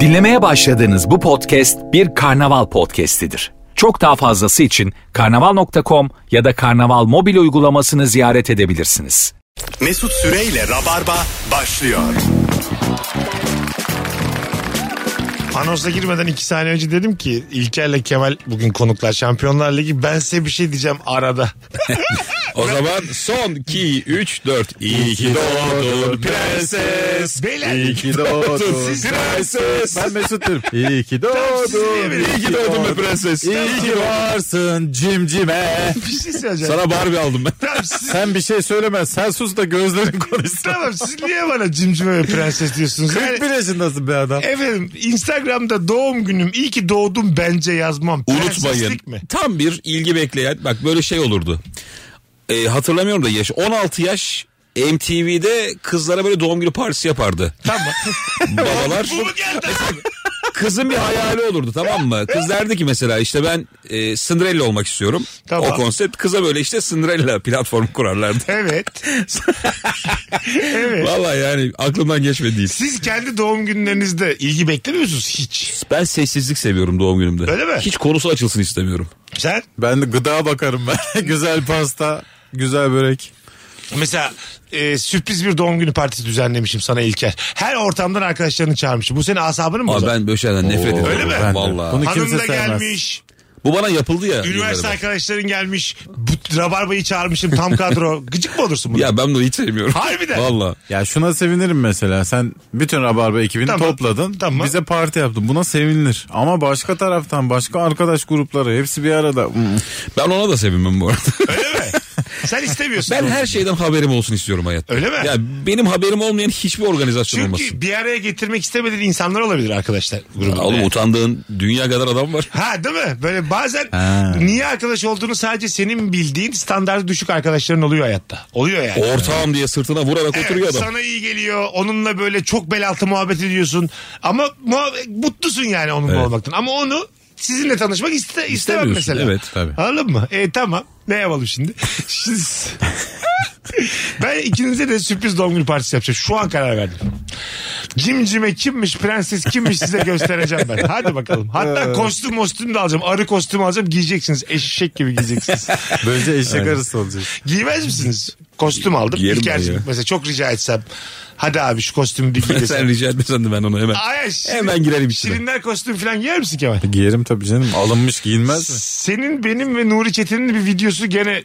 Dinlemeye başladığınız bu podcast bir karnaval podcastidir. Çok daha fazlası için karnaval.com ya da karnaval mobil uygulamasını ziyaret edebilirsiniz. Mesut Süreyle Rabarba başlıyor. Anonsa girmeden iki saniye önce dedim ki İlker'le Kemal bugün konuklar Şampiyonlar Ligi ben size bir şey diyeceğim arada. O zaman son 2, 3, 4. İyi ki doğdun prenses. Beyler. İyi ki doğdun Siz- prenses. Ben Mesut Türk. İyi ki siz niye doğdun. beni- İyi ki doğdun be prenses. İyi ki varsın cimcime. bir şey söyleyeceğim. Sana Barbie aldım ben. Tamam, siz, Sen bir şey söyleme. Sen sus da gözlerin konuşsun. tamam siz niye bana cimcime ve prenses diyorsunuz? Yani, 41 yaşındasın be adam. efendim Instagram'da doğum günüm iyi ki doğdum bence yazmam. Unutmayın. Prenseslik mi? Tam bir ilgi bekleyen bak böyle şey olurdu. Ee, hatırlamıyorum da yaş. 16 yaş MTV'de kızlara böyle doğum günü partisi yapardı. Tamam. Babalar Bu mu geldi? kızın bir hayali olurdu tamam mı? Kız derdi ki mesela işte ben e, Cinderella olmak istiyorum. Tamam. O konsept kıza böyle işte Cinderella platformu kurarlardı. evet. evet. Vallahi yani aklımdan geçmedi değil. Siz kendi doğum günlerinizde ilgi beklemiyorsunuz hiç. Ben sessizlik seviyorum doğum günümde. Öyle mi? Hiç konusu açılsın istemiyorum. Sen Ben de gıda bakarım ben. güzel pasta, güzel börek. Mesela e, sürpriz bir doğum günü partisi düzenlemişim sana İlker. Her ortamdan arkadaşlarını çağırmışım. Bu senin asabını mı Abi bozar? ben böyle şeylerden nefret ediyorum. Öyle mi? Ben de. Vallahi. Bunu Hanım kimse da sevmez. gelmiş. Bu bana yapıldı ya. Üniversite yıllar evvel. arkadaşların gelmiş. Bu, rabarbayı çağırmışım tam kadro. Gıcık mı olursun buna? Ya ben bunu hiç sevmiyorum. Harbiden. Valla. Ya şuna sevinirim mesela. Sen bütün Rabarba ekibini Tamam, topladın. tamam. Bize parti yaptın. Buna sevinilir. Ama başka taraftan başka arkadaş grupları hepsi bir arada. Hmm. Ben ona da sevinmem bu arada. Öyle mi? Sen istemiyorsun. ben onu. her şeyden haberim olsun istiyorum hayatta. Öyle mi? Ya benim haberim olmayan hiçbir organizasyon Çünkü olmasın. bir araya getirmek istemediğin insanlar olabilir arkadaşlar grubunda. Ya Oğlum utandığın dünya kadar adam var. Ha değil mi? Böyle bazen niye arkadaş olduğunu sadece senin bildiğin standartı düşük arkadaşların oluyor hayatta. Oluyor yani. Ortağım diye sırtına vurarak Evet, oturuyor adam. Sana iyi geliyor. Onunla böyle çok bel altı muhabbet ediyorsun. Ama muhab- mutlusun yani onunla olmaktan. Ama onu sizinle tanışmak iste, istemem İstemiyorsun, mesela. evet, tabii. Anladın mı? E tamam. Ne yapalım şimdi? Şimdi- ben ikinize de sürpriz doğum günü partisi yapacağım. Şu an karar verdim. Cimcime kimmiş, prenses kimmiş size göstereceğim ben. Hadi bakalım. Hatta kostüm mostüm de alacağım. Arı kostümü alacağım. Giyeceksiniz. Eşek gibi giyeceksiniz. Böylece eşek arısı olacak. Giymez misiniz? Kostüm aldım. Giyerim İlk ben erkek ya. mesela çok rica etsem. Hadi abi şu kostümü bir giy Sen desem. rica etmesen de ben onu hemen. Ay, şirin- Hemen girelim içine. Şirinler kostüm falan giyer misin Kemal? Giyerim tabii canım. Alınmış giyilmez mi? Senin benim ve Nuri Çetin'in bir videosu gene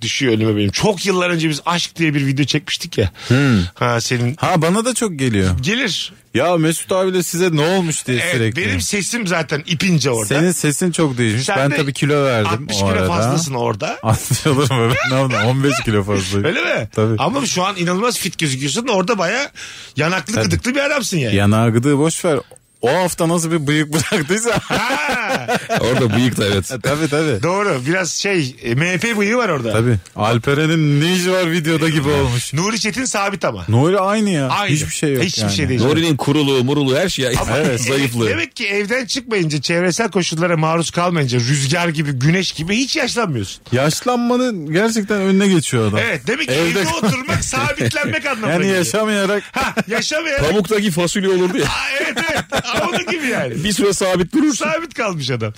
düşüyor önüme benim. Çok yıllar önce biz aşk diye bir video çekmiştik ya. Hmm. Ha senin Ha bana da çok geliyor. gelir. Ya Mesut abiyle size ne olmuş diye Evet, E, sürekli. benim sesim zaten ipince orada. Senin sesin çok değişmiş. Sen ben de tabii kilo verdim 60 o kilo arada. fazlasın orada. 60 olur mu? Ben ne yaptım? 15 kilo fazlayım. Öyle mi? Tabii. Ama şu an inanılmaz fit gözüküyorsun. Orada baya yanaklı gıdıklı bir adamsın yani. Yanağı gıdığı boş ver. O hafta nasıl bir bıyık bıraktıysa. Ha, Orada bıyık da E, evet. tabii tabii. doğru. Biraz şey e, MHP bıyığı var orada. tabii. Alperen'in ne işi var videoda gibi olmuş. Nuri Çetin sabit ama. Nuri aynı ya. Aynı. Hiçbir şey yok Hiçbir yani. şey değil. Nuri'nin kuruluğu, muruluğu her şey. Evet. Evet, zayıflığı. Demek ki evden çıkmayınca, çevresel koşullara maruz kalmayınca, rüzgar gibi, güneş gibi hiç yaşlanmıyorsun. Yaşlanmanın gerçekten önüne geçiyor adam. Evet, demek ki Evde- evde oturmak, sabitlenmek anlamına Yani geliyor. yaşamayarak Ha, yaşamayarak. Pamuktaki fasulye olurdu ya. Aa, evet evet. Ama Onun gibi yani. Bir süre sabit durursun. Sabit kalmış adam.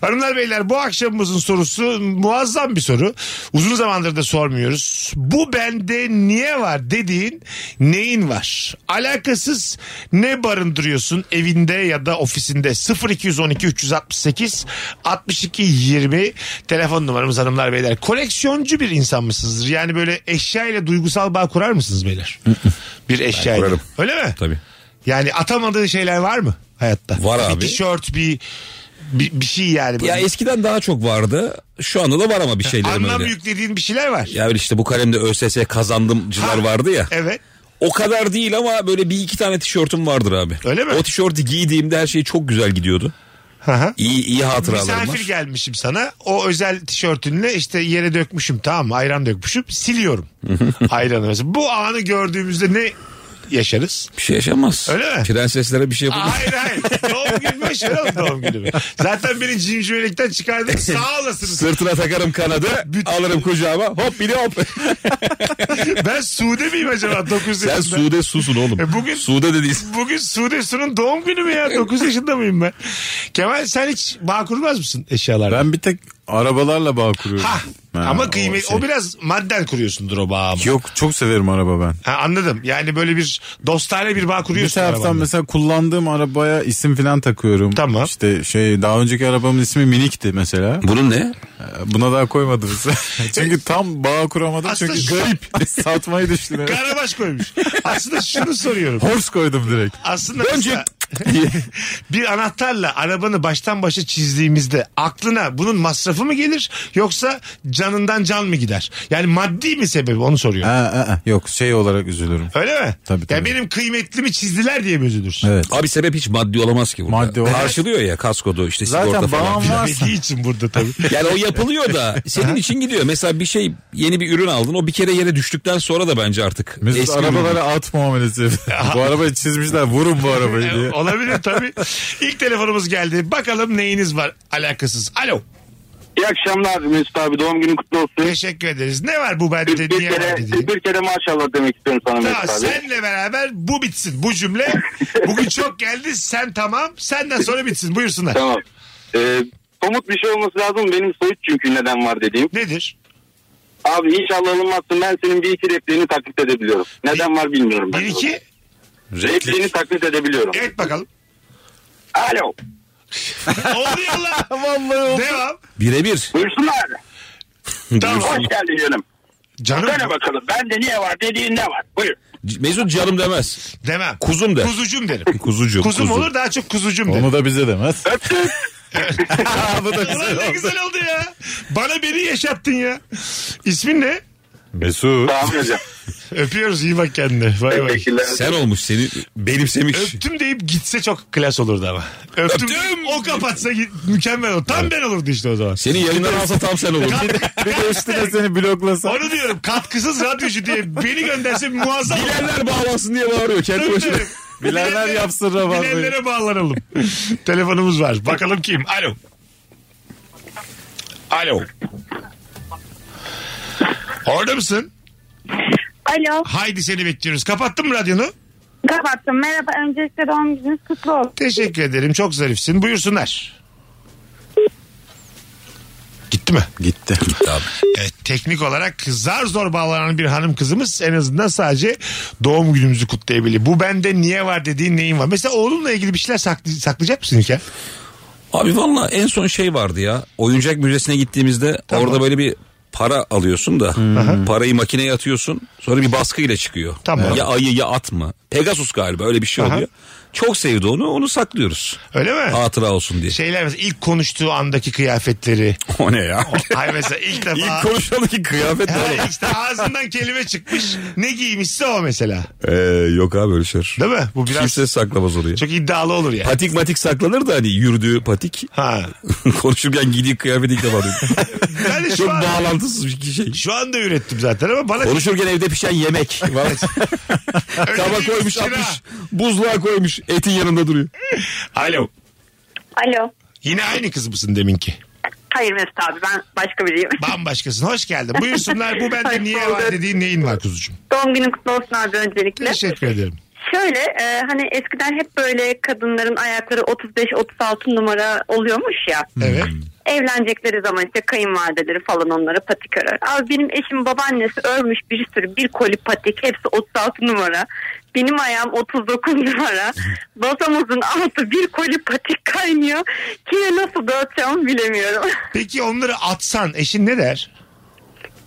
Hanımlar beyler bu akşamımızın sorusu muazzam bir soru. Uzun zamandır da sormuyoruz. Bu bende niye var dediğin neyin var? Alakasız ne barındırıyorsun evinde ya da ofisinde? 0212 368 62 20 telefon numaramız hanımlar beyler. Koleksiyoncu bir insan mısınız? Yani böyle eşya ile duygusal bağ kurar mısınız beyler? bir eşya ile. kurarım. Öyle mi? Tabii. Yani atamadığın şeyler var mı hayatta? Var bir abi. Bir tişört, bir, bir bir şey yani. Böyle. Ya eskiden daha çok vardı. Şu anda da var ama bir şeylerim Anlam öyle. yüklediğin bir şeyler var. Ya böyle işte bu kalemde ÖSS kazandımcılar Ha. vardı ya. Evet. O kadar değil ama böyle bir iki tane tişörtüm vardır abi. Öyle mi? O tişörtü giydiğimde her şey çok güzel gidiyordu. Hı hı. İyi iyi hatıralarım Misafir var. gelmişim sana. O özel tişörtünle işte yere dökmüşüm tamam mı? Ayran dökmüşüm. Siliyorum. Ayranı mesela. Bu anı gördüğümüzde ne yaşarız. Bir şey yaşanmaz. Öyle mi? Prenseslere bir şey yapamaz. Hayır hayır. doğum günümü yaşarım doğum günümü. Zaten beni cimcimelikten çıkardın. Sağ olasınız. Sırtına takarım kanadı alırım kucağıma hop bile hop. Ben Sude miyim acaba 9 Sen yaşında? Sude susun oğlum. E bugün- Sude de değilsin. Bugün Sude Su'nun doğum günü mü ya? 9 yaşında mıyım ben? Kemal sen hiç bağ kurmaz mısın eşyalarla? Ben bir tek arabalarla bağ kuruyorum. Ha, Ha, ama kıymet o, şey. biraz madden kuruyorsundur o bağ ama. Yok çok severim araba ben. Ha, anladım. Yani böyle bir dostane bir bağ Bir kuruyorsun. taraftan arabanla. mesela kullandığım arabaya isim falan takıyorum. Tamam. İşte şey daha önceki arabamın ismi Minik'ti mesela. Bunun ne? Buna daha koymadınız. çünkü tam bağ kuramadım Aslında çünkü şu- garip. Satmayı düşünüyorum. Karabaş koymuş. Aslında şunu soruyorum. Horse koydum direkt. Aslında mesela diye. bir anahtarla arabanı baştan başa çizdiğimizde aklına bunun masrafı mı gelir yoksa canından can mı gider? Yani maddi mi sebebi onu soruyorum. Ha, ha, ha. Yok şey olarak üzülürüm. Öyle mi? Tabii, Ya tabii. benim kıymetlimi çizdiler diye mi üzülürsün? Evet. Abi sebep hiç maddi olamaz ki burada. Maddi olamaz. Karşılıyor ya kaskodu işte sigorta Zaten falan. bağım filan. varsa. Dediği için burada tabii. Yani o yapılıyor da senin için gidiyor. Mesela bir şey yeni bir ürün aldın o bir kere yere düştükten sonra da bence artık. Mesut ürün. arabalara at muamelesi. bu arabayı çizmişler vurun bu arabayı Ee, diye. Olabilir tabii. İlk telefonumuz geldi. Bakalım neyiniz var alakasız. Alo. İyi akşamlar Mesut abi doğum günün kutlu olsun. Teşekkür ederiz. Ne var bu bende? Bir, bir Niye kere bende diye. bir kere maşallah demek istiyorum sana Daha Mesut abi. senle beraber bu bitsin. Bu cümle bugün çok geldi. Sen tamam. Senden sonra bitsin. Buyursunlar. Tamam. Ee, somut bir şey olması lazım. Benim soyut çünkü neden var dediğim. Nedir? Abi inşallah alınmazsın. Ben senin bir iki repliğini taklit edebiliyorum. Neden var bilmiyorum. ben. Bir iki. Repliğini taklit edebiliyorum. Evet bakalım. Alo. Oldu yallah. Devam. Birebir. Buyursunlar. Tamam. Hoş geldin canım. Canım Söyle bakalım. Bende niye var dediğin ne var? Buyur. C- Mesut canım demez. demem. Kuzum de. Kuzucum derim. Kuzucuğum. Kuzum kuzu. olur daha çok kuzucum derim. Onu da bize demez. Öptük. Bu da Ulan ne güzel oldu. güzel oldu ya. Bana beni yaşattın ya. İsmin ne? Mesut. Tamam hocam. Öpüyoruz iyi bak kendine. Bay bay. Teşekkürler. Sen olmuş seni benimsemiş. Öptüm deyip gitse çok klas olurdu ama. Öptüm. Öptüm. O kapatsa git, mükemmel olur. Tam ben olurdu işte o zaman. Seni yayından alsa tam sen olurdun. Bir de üstüne seni bloklasa. Onu diyorum katkısız radyocu diye beni gönderse muazzam olur. Bilenler bağlansın diye bağırıyor kendi başına. Öptüm. Bilenler yapsın rabarbayı. Bilenlere bağlanalım. Telefonumuz var. Bakalım kim? Alo. Alo. Orada mısın? Alo. Haydi seni bekliyoruz. Kapattın mı radyonu? Kapattım. Merhaba. Öncelikle doğum gününüz kutlu olsun. Teşekkür ederim. Çok zarifsin. Buyursunlar. Gitti mi? Gitti. Evet, teknik olarak zar zor bağlanan bir hanım kızımız en azından sadece doğum günümüzü kutlayabilir. Bu bende niye var dediğin neyin var? Mesela oğlunla ilgili bir şeyler saklı- saklayacak mısın İlker? Abi valla en son şey vardı ya. Oyuncak müzesine gittiğimizde orada böyle bir para alıyorsun da parayı makineye atıyorsun sonra bir baskıyla çıkıyor. Tamam. Ya ayı ya at mı? Pegasus galiba öyle bir şey Aha. oluyor. Çok sevdi onu onu saklıyoruz. Öyle mi? Şey- Hatıra olsun diye. Şeyler mesela ilk konuştuğu andaki kıyafetleri. O ne ya? Ay mesela ilk defa... İlk konuşalım ki kıyafet ne Ha, oğlum? işte ağzından kelime çıkmış. Ne giymişse o mesela. Ee, yok abi öyle şey. Değil mi? Bu biraz Şey- Kimse saklamaz orayı. çok iddialı olur ya. Patik matik saklanır da hani yürüdüğü patik. Ha. Konuşurken giydiği kıyafet ilk defa duydum. Ben de Çok şu, an, bağlantısız bir şey. şu anda ürettim zaten ama bana... Konuşurken evde pişen yemek. Öyle Kaba değilmiş koymuş Şira. atmış. Buzluğa koymuş. Etin yanında duruyor. Alo. Alo. Yine aynı kız mısın deminki? Hayır Mesut abi ben başka biriyim. Bambaşkasın. Hoş geldin. Buyursunlar bu bende Hoş niye bulduk. var dediğin neyin var kuzucuğum? doğum günün kutlu olsun abi öncelikle. Teşekkür ederim. Şöyle e, hani eskiden hep böyle kadınların ayakları 35-36 numara oluyormuş ya. Evet. Evlenecekleri zaman işte kayınvalideleri falan onlara patik örer. Abi benim eşim babaannesi örmüş bir sürü bir koli patik hepsi 36 numara. Benim ayağım 39 numara. Basamızın altı bir koli patik kaynıyor. Kime nasıl dağıtacağımı bilemiyorum. Peki onları atsan eşin ne der?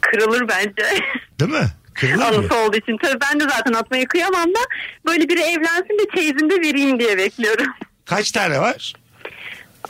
Kırılır bence. Değil mi? Kırılır mı? Anısı olduğu için. Tabii ben de zaten atmayı kıyamam da böyle biri evlensin de çeyizinde vereyim diye bekliyorum. Kaç tane var?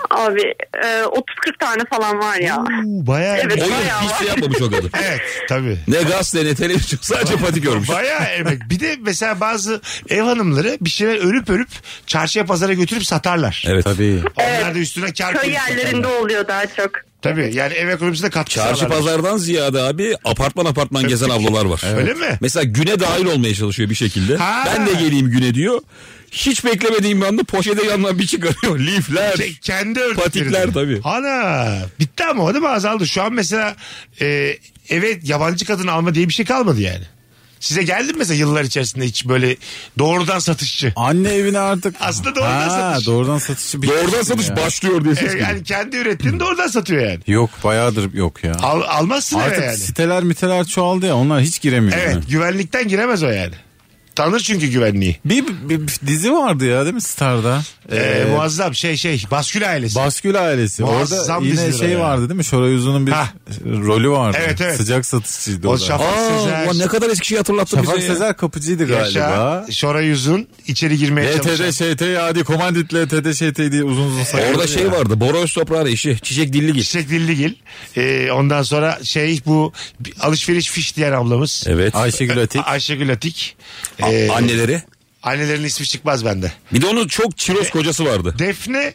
Abi e, 30-40 tane falan var ya. Oo, bayağı. Evet. Oyun Bayağı hiçbir var. şey yapmamış o kadın. Evet tabii. Ne gaz ne, ne televizyon sadece patik görmüş. Bayağı emek. Bir de mesela bazı ev hanımları bir şeyler örüp örüp çarşıya pazara götürüp satarlar. Evet. Tabii. Onlar Evet. da üstüne kar Köy koyup yerlerinde satarlar. oluyor daha çok. Tabii yani ev ekonomisine katkı Çarşı sağlarlar. pazardan ziyade abi apartman apartman gezen ablalar var. Öyle mi? Mesela güne dahil olmaya çalışıyor bir şekilde. Ha. Ben de geleyim güne diyor. Hiç beklemediğim bir anda poşete yanına bir çıkarıyor. Lifler. Şey, kendi örnekleri. Patikler tabii. Ana bitti ama o değil mi azaldı. Şu an mesela e, eve yabancı kadın alma diye bir şey kalmadı yani. Size geldi mi mesela yıllar içerisinde hiç böyle doğrudan satışçı? Anne evine artık. Aslında doğrudan satış. Doğrudan satışı. bir- Doğrudan satış Ya. başlıyor diye E, ses geliyor. yani kendi ürettiğini doğrudan satıyor yani. Yok bayağıdır yok ya. Al, almazsın eve Artık yani. siteler miteler çoğaldı ya onlar hiç giremiyor. Evet yani. güvenlikten giremez o yani. Tanır çünkü güvenliği. Bir, bir- bir dizi vardı ya değil mi Star'da? E, muazzam şey şey baskül ailesi. Baskül ailesi. Muazzam Orada yine dizidir o şey ya. vardı değil mi? Şoray Uzun'un bir Hah. rolü vardı. Evet, evet. Sıcak satışçıydı o o da. Şafak, Şafak Sezer. Aa, ulan ne kadar Eskişehir hatırlattı bize ya. Sezer kapıcıydı Yaşa, galiba. E Şoray Yüz'ün içeri girmeye çalışan. LTD ŞT hadi komandit LTD ŞT diye uzun uzun sayıyordu Orada ya. şey vardı. Bora Öztoprak'ın eşi. Çiçek Dilligil. Çiçek Dilligil. Ee, ondan sonra şey bu alışveriş fiş diyen ablamız. Evet. Ayşegül Atik. Ayşegül Atik. A- Ee, Anneleri. Annelerin ismi çıkmaz bende. Bir de onun çok çiroz kocası vardı. Defne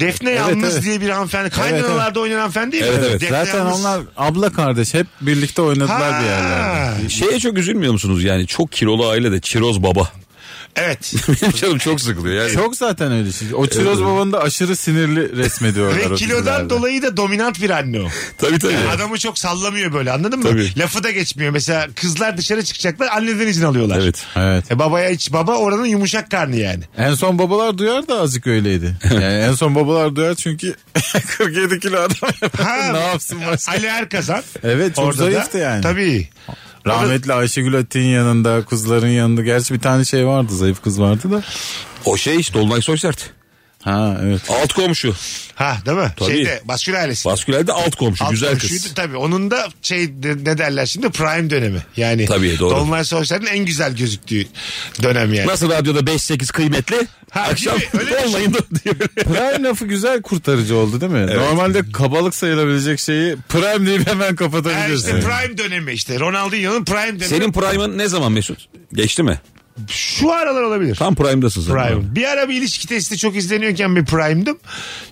Defne Yalnız evet. diye bir hanımefendi. Kaynanalarda oynayan hanımefendi değil mi? Evet, evet. Defne Zaten Yalnız. onlar abla kardeş hep birlikte oynadılar Ha. bir yerlerde. Şeye çok üzülmüyor musunuz yani? Çok kilolu aile de çiroz baba. Evet. Benim canım çok sıkılıyor yani. Çok zaten öyle şey. O Çiroz babanı da aşırı sinirli resmediyorlar. Ve o kilodan dizilerde. dolayı da dominant bir anne o. Tabii tabii. Yani adamı çok sallamıyor böyle anladın mı? Tabii. Lafı da geçmiyor. Mesela kızlar dışarı çıkacaklar anneden izin alıyorlar. Evet. Evet. E babaya hiç baba oranın yumuşak karnı yani. En son babalar duyar da azıcık öyleydi. Yani en son babalar duyar çünkü 47 kilo adam Ha. ne yapsın başka? Ali Erkazan. Evet çok Orada da- zayıftı yani. Tabii. Rahmetli Ayşegül Atik'in yanında kızların yanında gerçi bir tane şey vardı zayıf kız vardı da. O şey işte Dolunay Soysert. Ha evet. Alt komşu. Ha değil mi? Tabii. Şeyde baskül ailesi. Basküler'de alt komşu. Alt güzel komşuydu. kız. Tabii onun da şey de- ne derler şimdi prime dönemi. Yani Tabii, doğru. Dolunay Soysal'ın en güzel gözüktüğü dönem yani. Nasıl radyoda 5-8 kıymetli? Ha, akşam değil mi? Öyle şey. dolmayın da diyor. Prime lafı güzel kurtarıcı oldu değil mi? Normalde kabalık sayılabilecek şeyi prime deyip hemen Ha, kapatabilirsin. işte prime dönemi işte. Ronaldinho'nun prime dönemi. Senin prime'ın ne zaman Mesut? Geçti mi? Şu aralar olabilir. Tam prime'dasın sen. Prime. Bir ara bir ilişki testi çok izleniyorken bir prime'dım.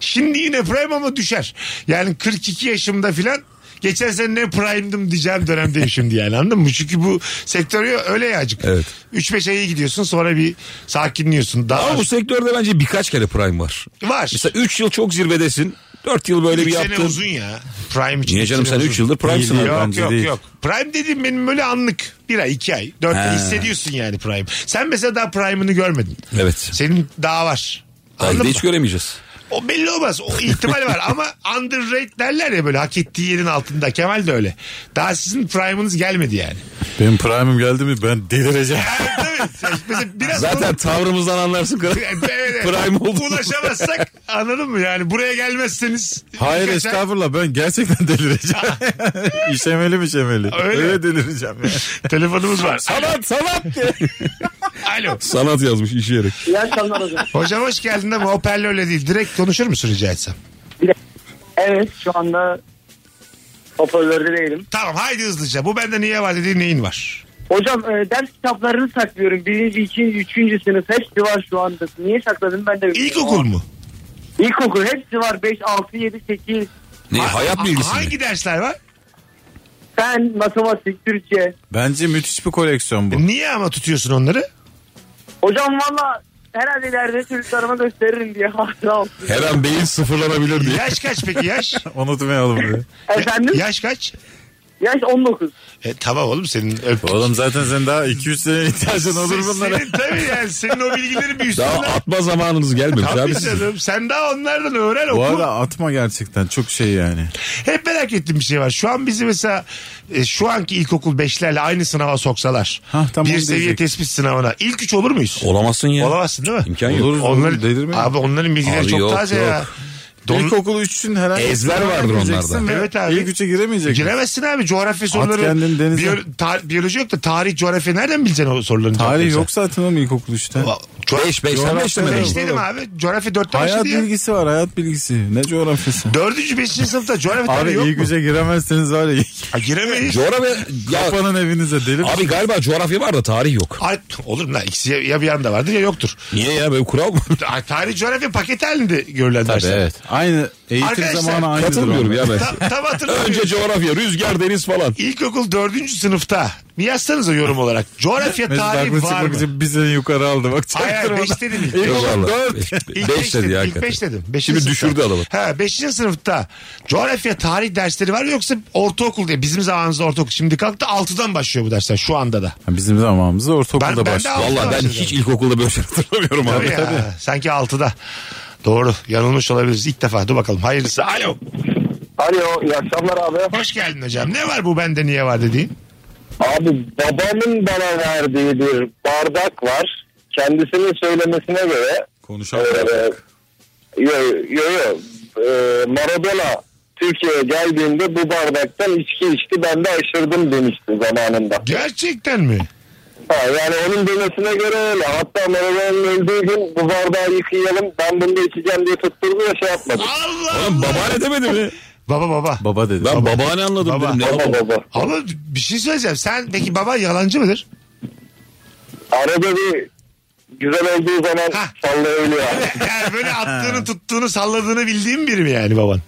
Şimdi yine prime ama düşer. Yani 42 yaşımda filan geçen sene ne prime'dım diyeceğim dönemdeyim şimdi yani anladın mı? Çünkü bu sektörü öyle yacık. Evet. 3-5 aya iyi gidiyorsun sonra bir sakinliyorsun. Daha Ama bu sektörde bence birkaç kere prime var. var. Mesela 3 yıl çok zirvedesin. 4 yıl böyle bir Üç sene yaptın. uzun ya. Prime için. Niye üç canım sene sen uzun. 3 yıldır prime'sın Değil abi. ya. Yok Bence yok değil. yok. Prime dediğim benim böyle anlık. Bir ay, iki ay, dört ay He. hissediyorsun yani prime. Sen mesela daha prime'ını görmedin. Evet. Senin daha var. Belki Anladın de mı? hiç göremeyeceğiz. O belli olmaz. O ihtimal var ama underrate derler ya böyle hak ettiği yerin altında. Kemal de öyle. Daha sizin prime'ınız gelmedi yani. Benim prime'im geldi mi ben delireceğim. Yani tabii. sen- Mesela biraz Zaten tavrımızdan anlarsın. kral. Evet, evet. Prime oldu. Ulaşamazsak anladın mı? Yani buraya gelmezseniz. Hayır birkaç ay- estağfurullah ben gerçekten delireceğim. işemeli mi işemeli. Öyle. Öyle, delireceğim ya. Telefonumuz var. Sanat sanat diye. Alo. sanat yazmış işeyerek. İyi akşamlar hocam. Hocam hoş geldin ama hoparlörle değil. Direkt konuşur musun rica etsem? Evet şu anda hoparlörde değilim. Tamam haydi hızlıca. Bu bende niye var dediğin neyin var? Hocam e, ders kitaplarını saklıyorum. Birinci, ikinci, üçüncü sınıf hepsi var şu anda. Niye sakladım ben de bilmiyorum. İlkokul mu? İlkokul hepsi var. 5, 6, 7, 8. Ne Ha- hayat ha- bilgisi. mi? Hangi dersler var? Fen, matematik, Türkçe. Bence müthiş bir koleksiyon bu. Niye ama tutuyorsun onları? Hocam valla herhalde ileride çocuklarıma gösteririm diye hatıra olsun. Her an beyin sıfırlanabilir diye. Yaş kaç peki yaş? Unutmayalım diye. Efendim? Yaş kaç? Yaş 19. E, tamam oğlum senin öp. Oğlum zaten sen daha 200 sene ihtiyacın olur Sen- bunlara. Senin tabii yani senin o bilgilerin bir Daha üstünden. atma zamanınız gelmemiş abi Tabii sizin. canım. Sen daha onlardan öğren oku. Bu arada atma gerçekten çok şey yani. Hep merak ettiğim bir şey var. Şu an bizi mesela e, şu anki ilkokul 5'lerle aynı sınava soksalar. Hah, tam bir onu seviye diyecektim. tespit sınavına. İlk üç olur muyuz? Olamazsın ya. Olamazsın değil mi? İmkan yok. Oluruz Onların, onları delirmeyin. abi onların bilgileri Abi çok yok, taze ya. yok. Don- İlkokulu 3'ün herhangi Ezber sınavına vardır gireceksin onlarda. ve Evet abi. İlk 3'e giremeyecek. Giremezsin abi coğrafya soruları. kendini denize. biyo- ta- biyoloji yok da tarih coğrafya nereden bileceksin o soruların? Tarih cevaplarını yok zaten oğlum ilkokul 3'te. sen? Va- Beş, beş. Sen beşte mi? Coğrafya- Beş dedim abi. Coğrafya şey dörtte Hayat başladı ya. bilgisi var hayat bilgisi. Ne coğrafyası? Dördüncü, beşinci sınıfta coğrafya Abi tabii yok iyi mu? güce giremezseniz var ya. Ha, giremeyiz. Coğrafya ya Kapanın evinize deli abi galiba coğrafya var da tarih yok. Ay, olur mu lan? İkisi ya, ya bir yanda vardır ya yoktur. Niye ya böyle kural mı? Ay, Tarih coğrafya paket halinde görülen Tabii dersler. evet. Aynı eğitim Arkadaşlar, zamanı aynıdır. Katılmıyorum onlar. ya Tam, ben. tam hatırlamıyorum. Önce coğrafya, rüzgar, deniz falan. İlkokul dördüncü sınıfta bir yazsanıza yorum olarak. Coğrafya Mesut tarihi haklı var çıkmak mı? için bir sene yukarı aldı. Bak Hayır hayır, beş çaktırmadan. dedim. ilk. İlk Yok oğlum, valla. dört. İlk Beş dedi İlk ya hakikaten. beş dedim. Beşinci Şimdi sınıfta. düşürdü adamı. Ha, beşinci sınıfta coğrafya tarih dersleri var yoksa ortaokul diye. Bizim zamanımızda ortaokul. Şimdi kalktı altıdan başlıyor bu dersler şu anda da. Bizim zamanımızda ortaokulda Ben- ben de başladı. aldım. Valla ben hiç ilkokulda böyle şey hatırlamıyorum Tabii abi. ya, Sanki altıda. Doğru yanılmış olabiliriz ilk defa. Dur bakalım hayırlısı. Alo. Alo iyi akşamlar abi. Hoş geldin hocam. Ne var bu bende niye var dediğin? Abi babamın bana verdiği bir bardak var. Kendisinin söylemesine göre e, Konuşan yo yo yo e, Maradona Türkiye'ye geldiğinde bu bardaktan içki içti ben de aşırdım demişti zamanında. Gerçekten mi? Ha, yani onun demesine göre öyle. Hatta Maradona'nın öldüğü gün bu bardağı yıkayalım ben bunu da içeceğim diye tutturdu ya şey yapmadı. Allah Oğlum Allah. babaanne demedi mi? Baba baba. Baba dedi. Ben babaanne anladım Baba. dedim. Ne Baba baba? baba. Ama bir şey söyleyeceğim. Sen peki baba yalancı mıdır? Arada bir güzel olduğu zaman Ha. sallayabiliyor. Yani böyle attığını tuttuğunu salladığını bildiğim biri mi yani baban?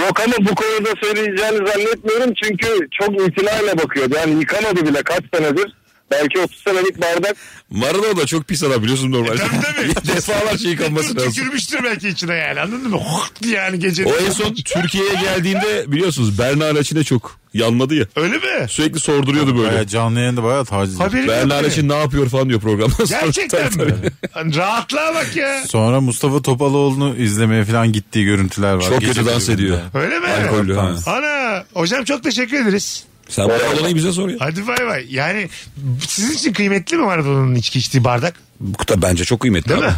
Yok ama bu konuda söyleyeceğini zannetmiyorum çünkü çok itinayla bakıyordu. Yani yıkamadı bile kaç senedir. Belki 30 senelik bardak. Maradona da çok pis adam biliyorsun normalde. E, Tabii, tabii. Defalarca yıkanması Dur lazım. tükürmüştür belki içine yani anladın mı? Hırt diye yani gece. O en son Türkiye'ye geldiğinde biliyorsunuz Berna Reçin'e çok yanmadı ya. Öyle mi? Sürekli sorduruyordu böyle. Bayağı canlı yayında bayağı taciz. Haberim yok Berna benim. Reçin ne yapıyor falan diyor programdan sonra. Gerçekten Tabii, tabii. mi? Rahatlığa bak ya. Sonra Mustafa Topaloğlu'nu izlemeye falan gittiği görüntüler var. Çok Gece kötü dans kulübünde. ediyor. Öyle mi? Alkollü ha. Ana hocam çok teşekkür ederiz. Sen Maradona'yı bize sor ya. Hadi bay bay. Yani sizin için kıymetli mi Maradona'nın içki içtiği bardak? Bu kıta bence çok kıymetli Değil abi. mi?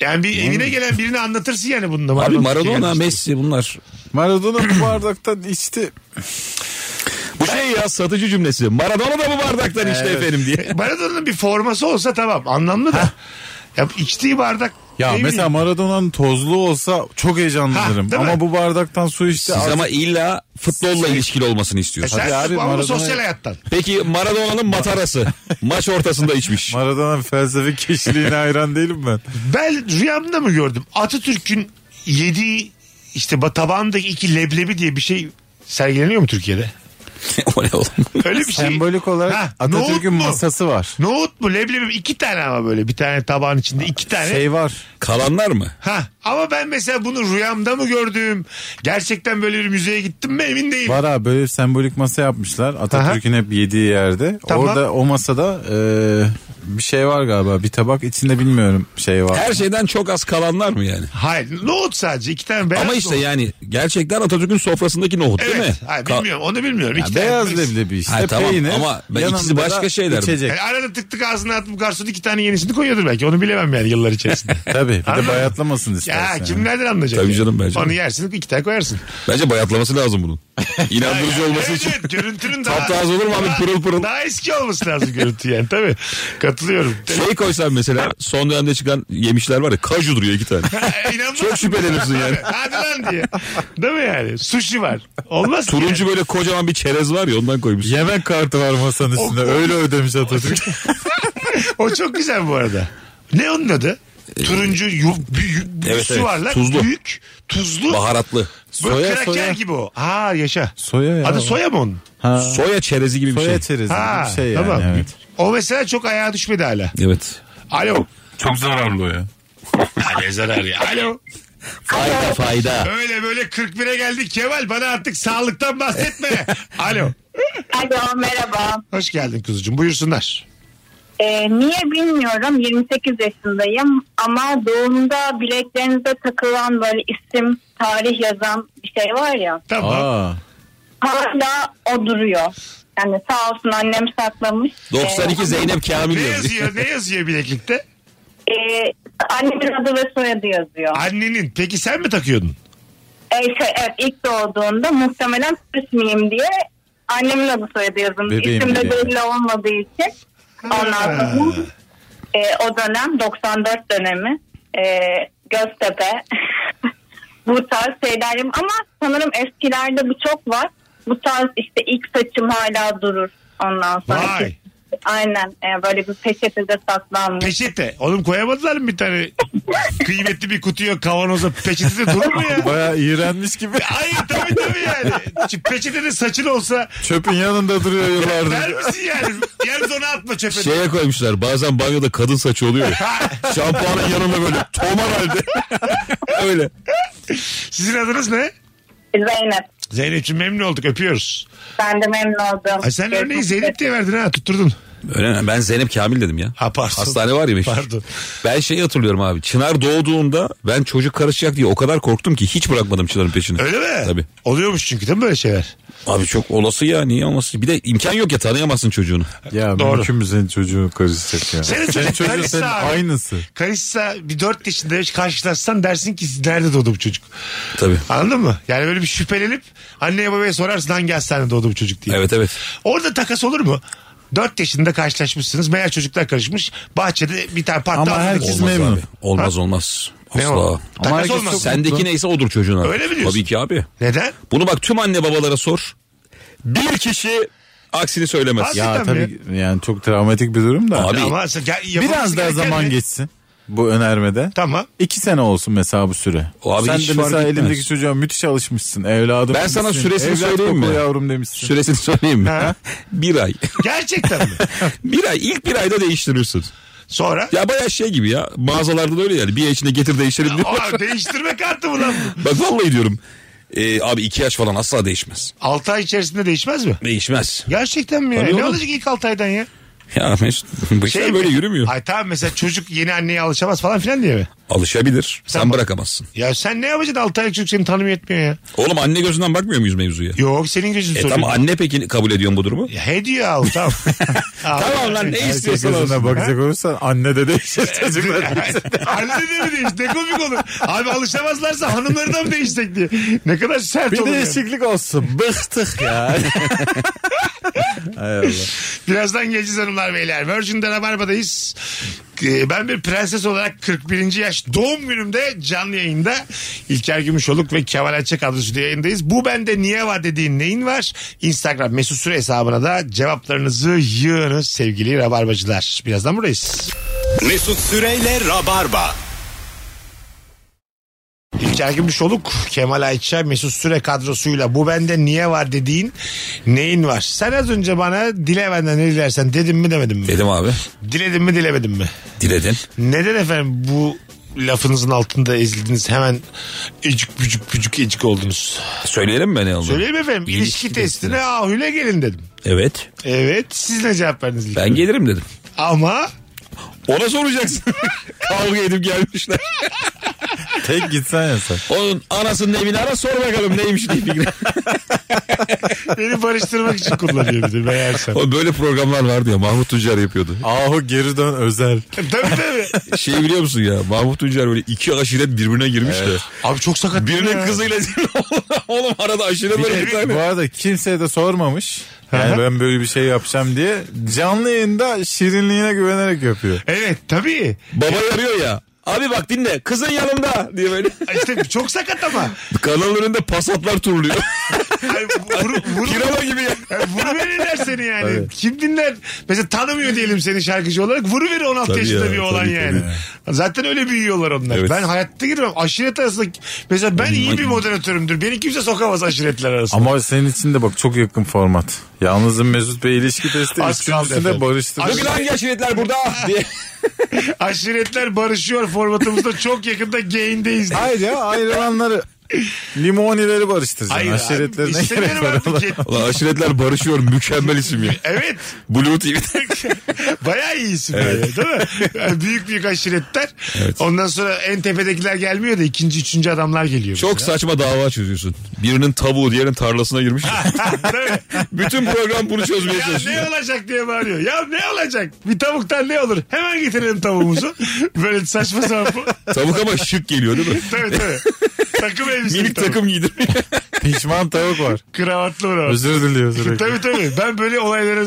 Yani bir evine gelen birini anlatırsın yani bunu da. Abi içki Maradona, gelmiş. Messi bunlar. Maradona bu bardaktan içti. Bu şey ya satıcı cümlesi. Maradona da bu bardaktan işte efendim diye. Maradona'nın bir forması olsa tamam anlamlı da. Ya içtiği bardak Ya ne mesela bileyim. Maradona'nın tozlu olsa çok Ha, heyecanlanırım. değil mi? Ama bu bardaktan su içti. Siz Artık- ama illa futbolla ilişkili E olmasını istiyorsunuz. sen Tabii abi, ama bu Maradona- sosyal hayattan. Peki Maradona'nın matarası maç ortasında içmiş. Maradona felsefi kişiliğine hayran değilim ben. Ben rüyamda mı gördüm? Atatürk'ün yediği işte ba- tabağındaki iki leblebi diye bir şey sergileniyor mu Türkiye'de? o ne oğlum? Öyle bir şey. Sembolik olarak Ha, Atatürk'ün nohut mu? masası var. Nohut mu leblebi mi? iki tane ama böyle bir tane tabağın içinde iki tane. Şey var. Kalanlar mı? Ha ama ben mesela bunu rüyamda mı gördüm? Gerçekten böyle bir müzeye gittim mi emin değilim. Var abi böyle bir sembolik masa yapmışlar. Atatürk'ün hep yediği yerde. Tamam. Orada o masada e, bir şey var galiba. Bir tabak içinde bilmiyorum şey var. Her şeyden çok az kalanlar mı yani? Hayır nohut sadece iki tane beyaz Ama işte nohut. yani gerçekten Atatürk'ün sofrasındaki nohut Evet. değil mi? Hayır, Ka- bilmiyorum onu bilmiyorum. Ya İki tane beyaz polis. leblebi işte şey Ha, tamam. peynir. Ama ben yanında ikisi başka da şeyler mi? içecek. Yani arada tık tık ağzına atıp garson iki tane yenisini koyuyordur belki. Onu bilemem yani yıllar içerisinde. Tabii bir Anladın de mı? bayatlamasın E, ya istersen. kimlerden anlayacak? Tabii ya? canım, bence. Onu yersin iki tane koyarsın. Bence bayatlaması lazım bunun. İnandırıcı olması Evet, için. evet, görüntünün daha... Taptaz olur mu abi daha- pırıl pırıl? Daha eski olması lazım görüntü yani tabii. Katılıyorum. Şey koysan mesela son dönemde çıkan yemişler var ya kaju duruyor iki tane. İnanmaz Çok şüphelenirsin yani. Hadi lan diye. Değil mi yani? Sushi var. Olmaz ki Turuncu yani. böyle kocaman bir çerez var ya ondan koymuş. Yemek kartı var masanın üstünde. Öyle ödemiş Atatürk. O çok güzel bu arada. Ne onun adı? Ee, Turuncu yu, büyük Evet, su evet. var lan. Tuzlu. Büyük, tuzlu. Baharatlı. Böyle Soya, kraker soya. gibi o. Ha yaşa. Soya ya. Adı soya mı onun? Ha. Soya çerezi gibi bir Soya şey. çerezi Ha, gibi bir şey yani. tamam. Evet. O mesela çok ayağa düşmedi hala. Evet. Alo. Çok zararlı o ya. Ha, Ne zarar ya. Alo. Fayda fayda. Öyle böyle 41'e geldik Kemal. Bana artık sağlıktan bahsetme. Alo. Alo merhaba. Hoş geldin kuzucuğum. Buyursunlar. Ee, niye bilmiyorum 28 yaşındayım ama doğumda bileklerinize takılan böyle isim tarih yazan bir şey var ya Tamam. Aa. hala o duruyor. Yani sağ olsun annem saklamış. 92 Zeynep Kamil Ne yazıyor. yazıyor? Ne yazıyor bileklikte? Ee, e, annemin adı ve soyadı yazıyor. Annenin. Peki sen mi takıyordun? Ee, şey, evet ilk doğduğunda muhtemelen Türk miyim diye annemin adı soyadı yazılmış. Bebeğim İsim de diye. belli olmadığı için. Ondan Ha. sonra e, o dönem 94 dönemi e, Göztepe bu tarz şeyler yap- ama sanırım eskilerde bu çok var. Bu tarz işte ilk saçım hala durur ondan sonra. Vay. Aynen e, böyle bir peçetede saklanmış. Peçete. Oğlum koyamadılar mı bir tane kıymetli bir kutuya kavanoza peçete de durur mu ya? Baya iğrenmiş gibi. Hayır tabii tabii yani. Şimdi peçetede saçın olsa Çöpün yanında duruyor ver yıllardır. misin yani? Yalnız onu atma çöpe. Şeye koymuşlar bazen banyoda kadın saçı oluyor ya. Şampuanın yanında böyle tomar halde. Öyle. Sizin adınız ne? Zeynep Zeynep'ciğim memnun olduk öpüyoruz. ben de memnun oldum. Ay sen Görüşmek örneği üzere. Zeynep diye verdin ha tutturdun. Öyle mi? Ben Zeynep Kamil dedim ya. Ha, pardon. Hastane var ya meşhur. Pardon. Ben şeyi hatırlıyorum abi. Çınar doğduğunda ben çocuk karışacak diye o kadar korktum ki hiç bırakmadım Çınar'ın peşini. Öyle mi? Tabii. Oluyormuş çünkü değil mi böyle şeyler? Abi çok olası ya niye olmasın? Bir de imkan yok ya tanıyamazsın çocuğunu. Ya Doğru. mümkün mü senin çocuğun karışacak ya? Senin çocuk çocuğun karışsa senin abi. aynısı. Karışsa bir 4 yaşında hiç karşılaşsan dersin ki nerede doğdu bu çocuk? Tabii. Anladın mı? Yani böyle bir şüphelenip anneye babaya sorarsın hangi hastanede doğdu bu çocuk diye. Evet evet. Orada takas olur mu? 4 yaşında karşılaşmışsınız. Meğer çocuklar karışmış. Bahçede bir tane patla Ama atladı. herkes- Biz Olmaz memnun. abi. Olmaz olmaz. Ne o? Asla. Ama Takas herkes olmaz. çok- Sendeki neyse odur çocuğuna. Öyle mi diyorsun? Tabii ki abi. Neden? Bunu bak tüm anne babalara sor. Bir kişi aksini söylemez. Abi- Ya Cidden tabii yani çok travmatik bir durum da. Abi, Ama sen- ya- yapılması Biraz daha gereken zaman ne? geçsin bu önermede. Tamam. İki sene olsun mesela bu süre. O abi Sen hiç de fark mesela etmez. elimdeki çocuğa müthiş alışmışsın evladım. Ben sana demişsin, süresini evlat söyleyeyim mi? dokulu yavrum demişsin. Süresini söyleyeyim mi? Ha. bir ay. Gerçekten mi? bir ay. ilk bir ayda değiştirirsin. Sonra? Ya bayağı şey gibi ya. Mağazalarda da öyle yani. Bir ay içinde getir değiştirelim diyor. Aa, değiştirme kartı mı lan bu? Bak vallahi diyorum. Ee, abi iki yaş falan asla değişmez. 6 ay içerisinde değişmez mi? Değişmez. Gerçekten mi ya? ne Tabii oğlum. olacak ilk 6 aydan ya? Şey Ya Mesut bu işler böyle mi? yürümüyor. Ay tamam mesela çocuk yeni anneye alışamaz falan filan diye mi? Alışabilir. Sen Tamam. bırakamazsın. Ya sen ne yapacaksın 6 aylık çocuk seni tanımıyor etmiyor ya. Oğlum anne gözünden bakmıyor muyuz mevzuya? Yok senin gözün E soruyor. tamam anne peki kabul ediyor mu bu durumu? Ya hediye al tamam. Al. Tamam lan ne Erkek istiyorsan gözüne olsun. bakacak olursan anne de değişir çocuklar. Halde de mi değiş? Ne komik olur. Abi alışamazlarsa hanımları da mı değişsek diye. Ne kadar sert bir olur. yani. değişiklik olsun. Bıktık ya. Hay Allah. Birazdan geleceğiz hanımlar beyler. Virgin'de Rabarba'dayız. Ee, Ben bir prenses olarak 41. yaş doğum günümde canlı yayında İlker Gümüşoluk ve Kemal Açık adlı stüdyo yayındayız. Bu bende niye var dediğin neyin var? Instagram mesut süre hesabına da cevaplarınızı yığınız sevgili Rabarbacılar. Birazdan buradayız. Mesut Süreyle Rabarba. İlker Gümüşoluk, Kemal Ayça, Mesut Süre kadrosuyla bu bende niye var dediğin neyin var? Sen az önce bana dile benden ne dilersen dedim mi demedim mi? Dedim abi. Diledim mi dilemedim mi? Diledin. Neden efendim bu lafınızın altında ezildiniz hemen ecik bücük bücük ecik oldunuz? Söyleyelim mi ne oldu? Söyleyeyim efendim ilişki, İlişki testine testine. ahüle gelin dedim. Evet. Evet siz ne cevap verdiniz? İlker? Ben gelirim dedim. Ama Ona soracaksın. Kavga edip gelmişler. Tek gitsen ya sen. Onun anasının evini ara sor bakalım neymiş diye fikri. beni barıştırmak için kullanıyor bir de meğersem. O böyle programlar vardı ya Mahmut Tuncer yapıyordu. Ahu geri dön özel. tabii tabii. Şey biliyor musun ya Mahmut Tuncer böyle iki aşiret birbirine girmiş de. Abi çok sakat. Birinin Ya. kızıyla oğlum arada aşiret böyle bir Bu tane. arada kimseye de sormamış. Yani ben böyle bir şey yapacağım diye canlı yayında şirinliğine güvenerek yapıyor. Evet tabii. Baba arıyor ya. Abi bak dinle kızın yanımda diye böyle. İşte çok sakat ama. Kanal önünde pasatlar turluyor. Yani vuru, vuru, Kirava gibi ya. yani vuruverirler seni yani. Kim dinler? Mesela tanımıyor diyelim seni şarkıcı olarak. Vuruverir 16 Tabii yaşında ya, bir olan tabii, yani. Zaten öyle büyüyorlar onlar. Evet. Ben hayatta girmem. Aşiret arasında mesela ben iyi bir moderatörümdür. Beni kimse sokamaz aşiretler arasında. Ama senin için de bak çok yakın format. Yalnızın Mesut Bey ilişki testi Az kaldı efendim. üçüncüsünde barıştık. Bugün hangi aşiretler burada diye. Aşiretler barışıyor formatımızda çok yakında gain'deyiz. Hayır ya ayrılanları limonileri barıştıracaksın. Hayır Hayır, abi, Aşiretlerine gerek istemiyorum var. artık. yet- Ulan aşiretler barışıyor mükemmel isim ya. Evet. Blue TV'de. Bayağı iyi isim yani, değil mi? Yani büyük büyük aşiretler. Ondan sonra en tepedekiler gelmiyor da ikinci üçüncü adamlar geliyor. Çok saçma dava çözüyorsun. Birinin tavuğu diğerinin tarlasına girmiş. Değil mi? Bütün program bunu çözmeye Ya çalışıyor. ne olacak diye bağırıyor. Ya ne olacak? Bir tavuktan ne olur? Hemen getirelim tavuğumuzu. Böyle saçma sapan. Tavuk ama şık geliyor değil mi? tabii tabii. Takım elbise. Minik tavuk. takım giydirmiyor. Pişman tavuk var. Kravatlı var. Özür diliyor sürekli. Tabii tabii. Ben böyle olaylara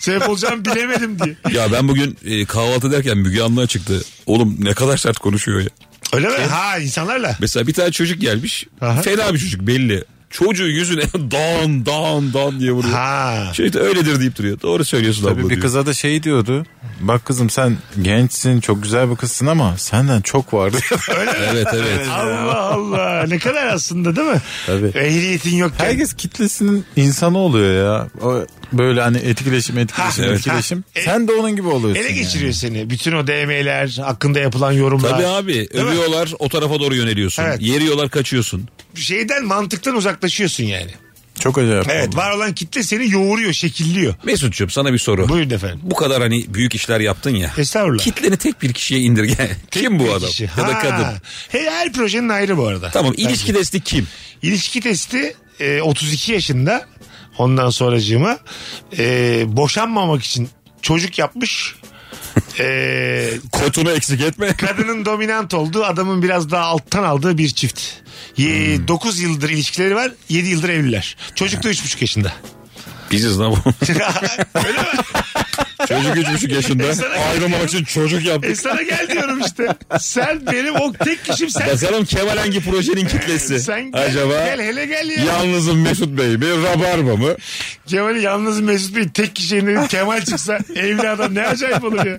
sebep olacağımı bilemedim diye. Ya ben bugün e, kahvaltı derken Müge Anlı'ya çıktı. Oğlum ne kadar sert konuşuyor ya. Öyle mi? Ha insanlarla. Mesela bir tane çocuk gelmiş. Aha. Fena bir çocuk belli. Çocuğu yüzüne dan dan dan diye vuruyor. Ha. Şey de öyledir deyip duruyor. Doğru söylüyorsun abla Tabii bir diyor. kıza da şey diyordu. Bak kızım sen gençsin çok güzel bir kızsın ama senden çok vardı. Evet evet. Allah Allah. Ne kadar aslında değil mi? Tabii. Ehliyetin yok. Herkes kitlesinin insanı oluyor ya. O böyle hani etkileşim etkileşim Ha, evet. etkileşim. Ha. e- Sen de onun gibi oluyorsun. Ele yani. geçiriyor seni. Bütün o DM'ler, hakkında yapılan yorumlar. Tabii abi Değil mi? övüyorlar o tarafa doğru yöneliyorsun. Evet. Yeriyorlar kaçıyorsun. Şeyden mantıktan uzaklaşıyorsun yani. Çok acayip. Evet oldu. var olan kitle seni yoğuruyor, şekilliyor. Mesut'cum sana bir soru. Buyurun efendim. Bu kadar hani büyük işler yaptın ya. Estağfurullah. Kitleni tek bir kişiye indirge. Kim bu Bir adam? kişi. Ya da Ha. kadın. He, her projenin ayrı bu arada. Tamam Bence. ilişki desti kim? İlişki testi e, 32 yaşında ondan sonracığıma e, boşanmamak için çocuk yapmış. E, Kotunu eksik etme. kadının dominant olduğu adamın biraz daha alttan aldığı bir çift. Hmm. 9 yıldır ilişkileri var 7 yıldır evliler. Çocuk da 3,5 yaşında. Biziz lan bu. Öyle mi? Çocuk üç buçuk yaşında. Ayrılmamak için çocuk E yaptık. sana gel diyorum işte. Sen benim o tek kişim sen. Bakalım Kemal hangi projenin kitlesi? Sen gel, Acaba gel hele gel ya. yalnızım Mesut Bey bir rabarba mı? Kemal'i yalnız Mesut Bey tek kişi elinde Kemal çıksa evli adam ne acayip olur ya.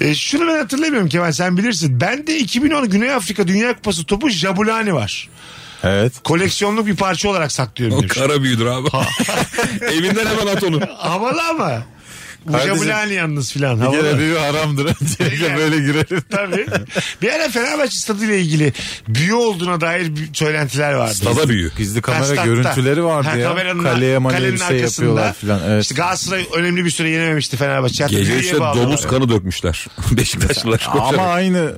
E, şunu ben hatırlamıyorum Kemal sen bilirsin. Bende 2010 Güney Afrika Dünya Kupası topu Jabulani var. Evet. Koleksiyonluk bir parça olarak saklıyorum. O demiş. kara büyüdür abi. Evinden hemen at onu. Havalı ama. Bu Kardeşim, Jabulani yalnız filan. Bir havalı. kere bir haramdır. Diye de böyle girelim. Tabii. Bir ara Fenerbahçe stadıyla ilgili büyü olduğuna dair bir- söylentiler vardı. Stada büyü. Gizli Ha, kamera statta. görüntüleri vardı Ha, ya. kameranın- Kaleye maleye kalenin bir şey arkasında. yapıyorlar filan. Evet. İşte Galatasaray önemli bir süre yenememişti Fenerbahçe. Hatta Gece büyüye işte bağladılar. domuz kanı dökmüşler. Beşiktaşlılar. Ama aynı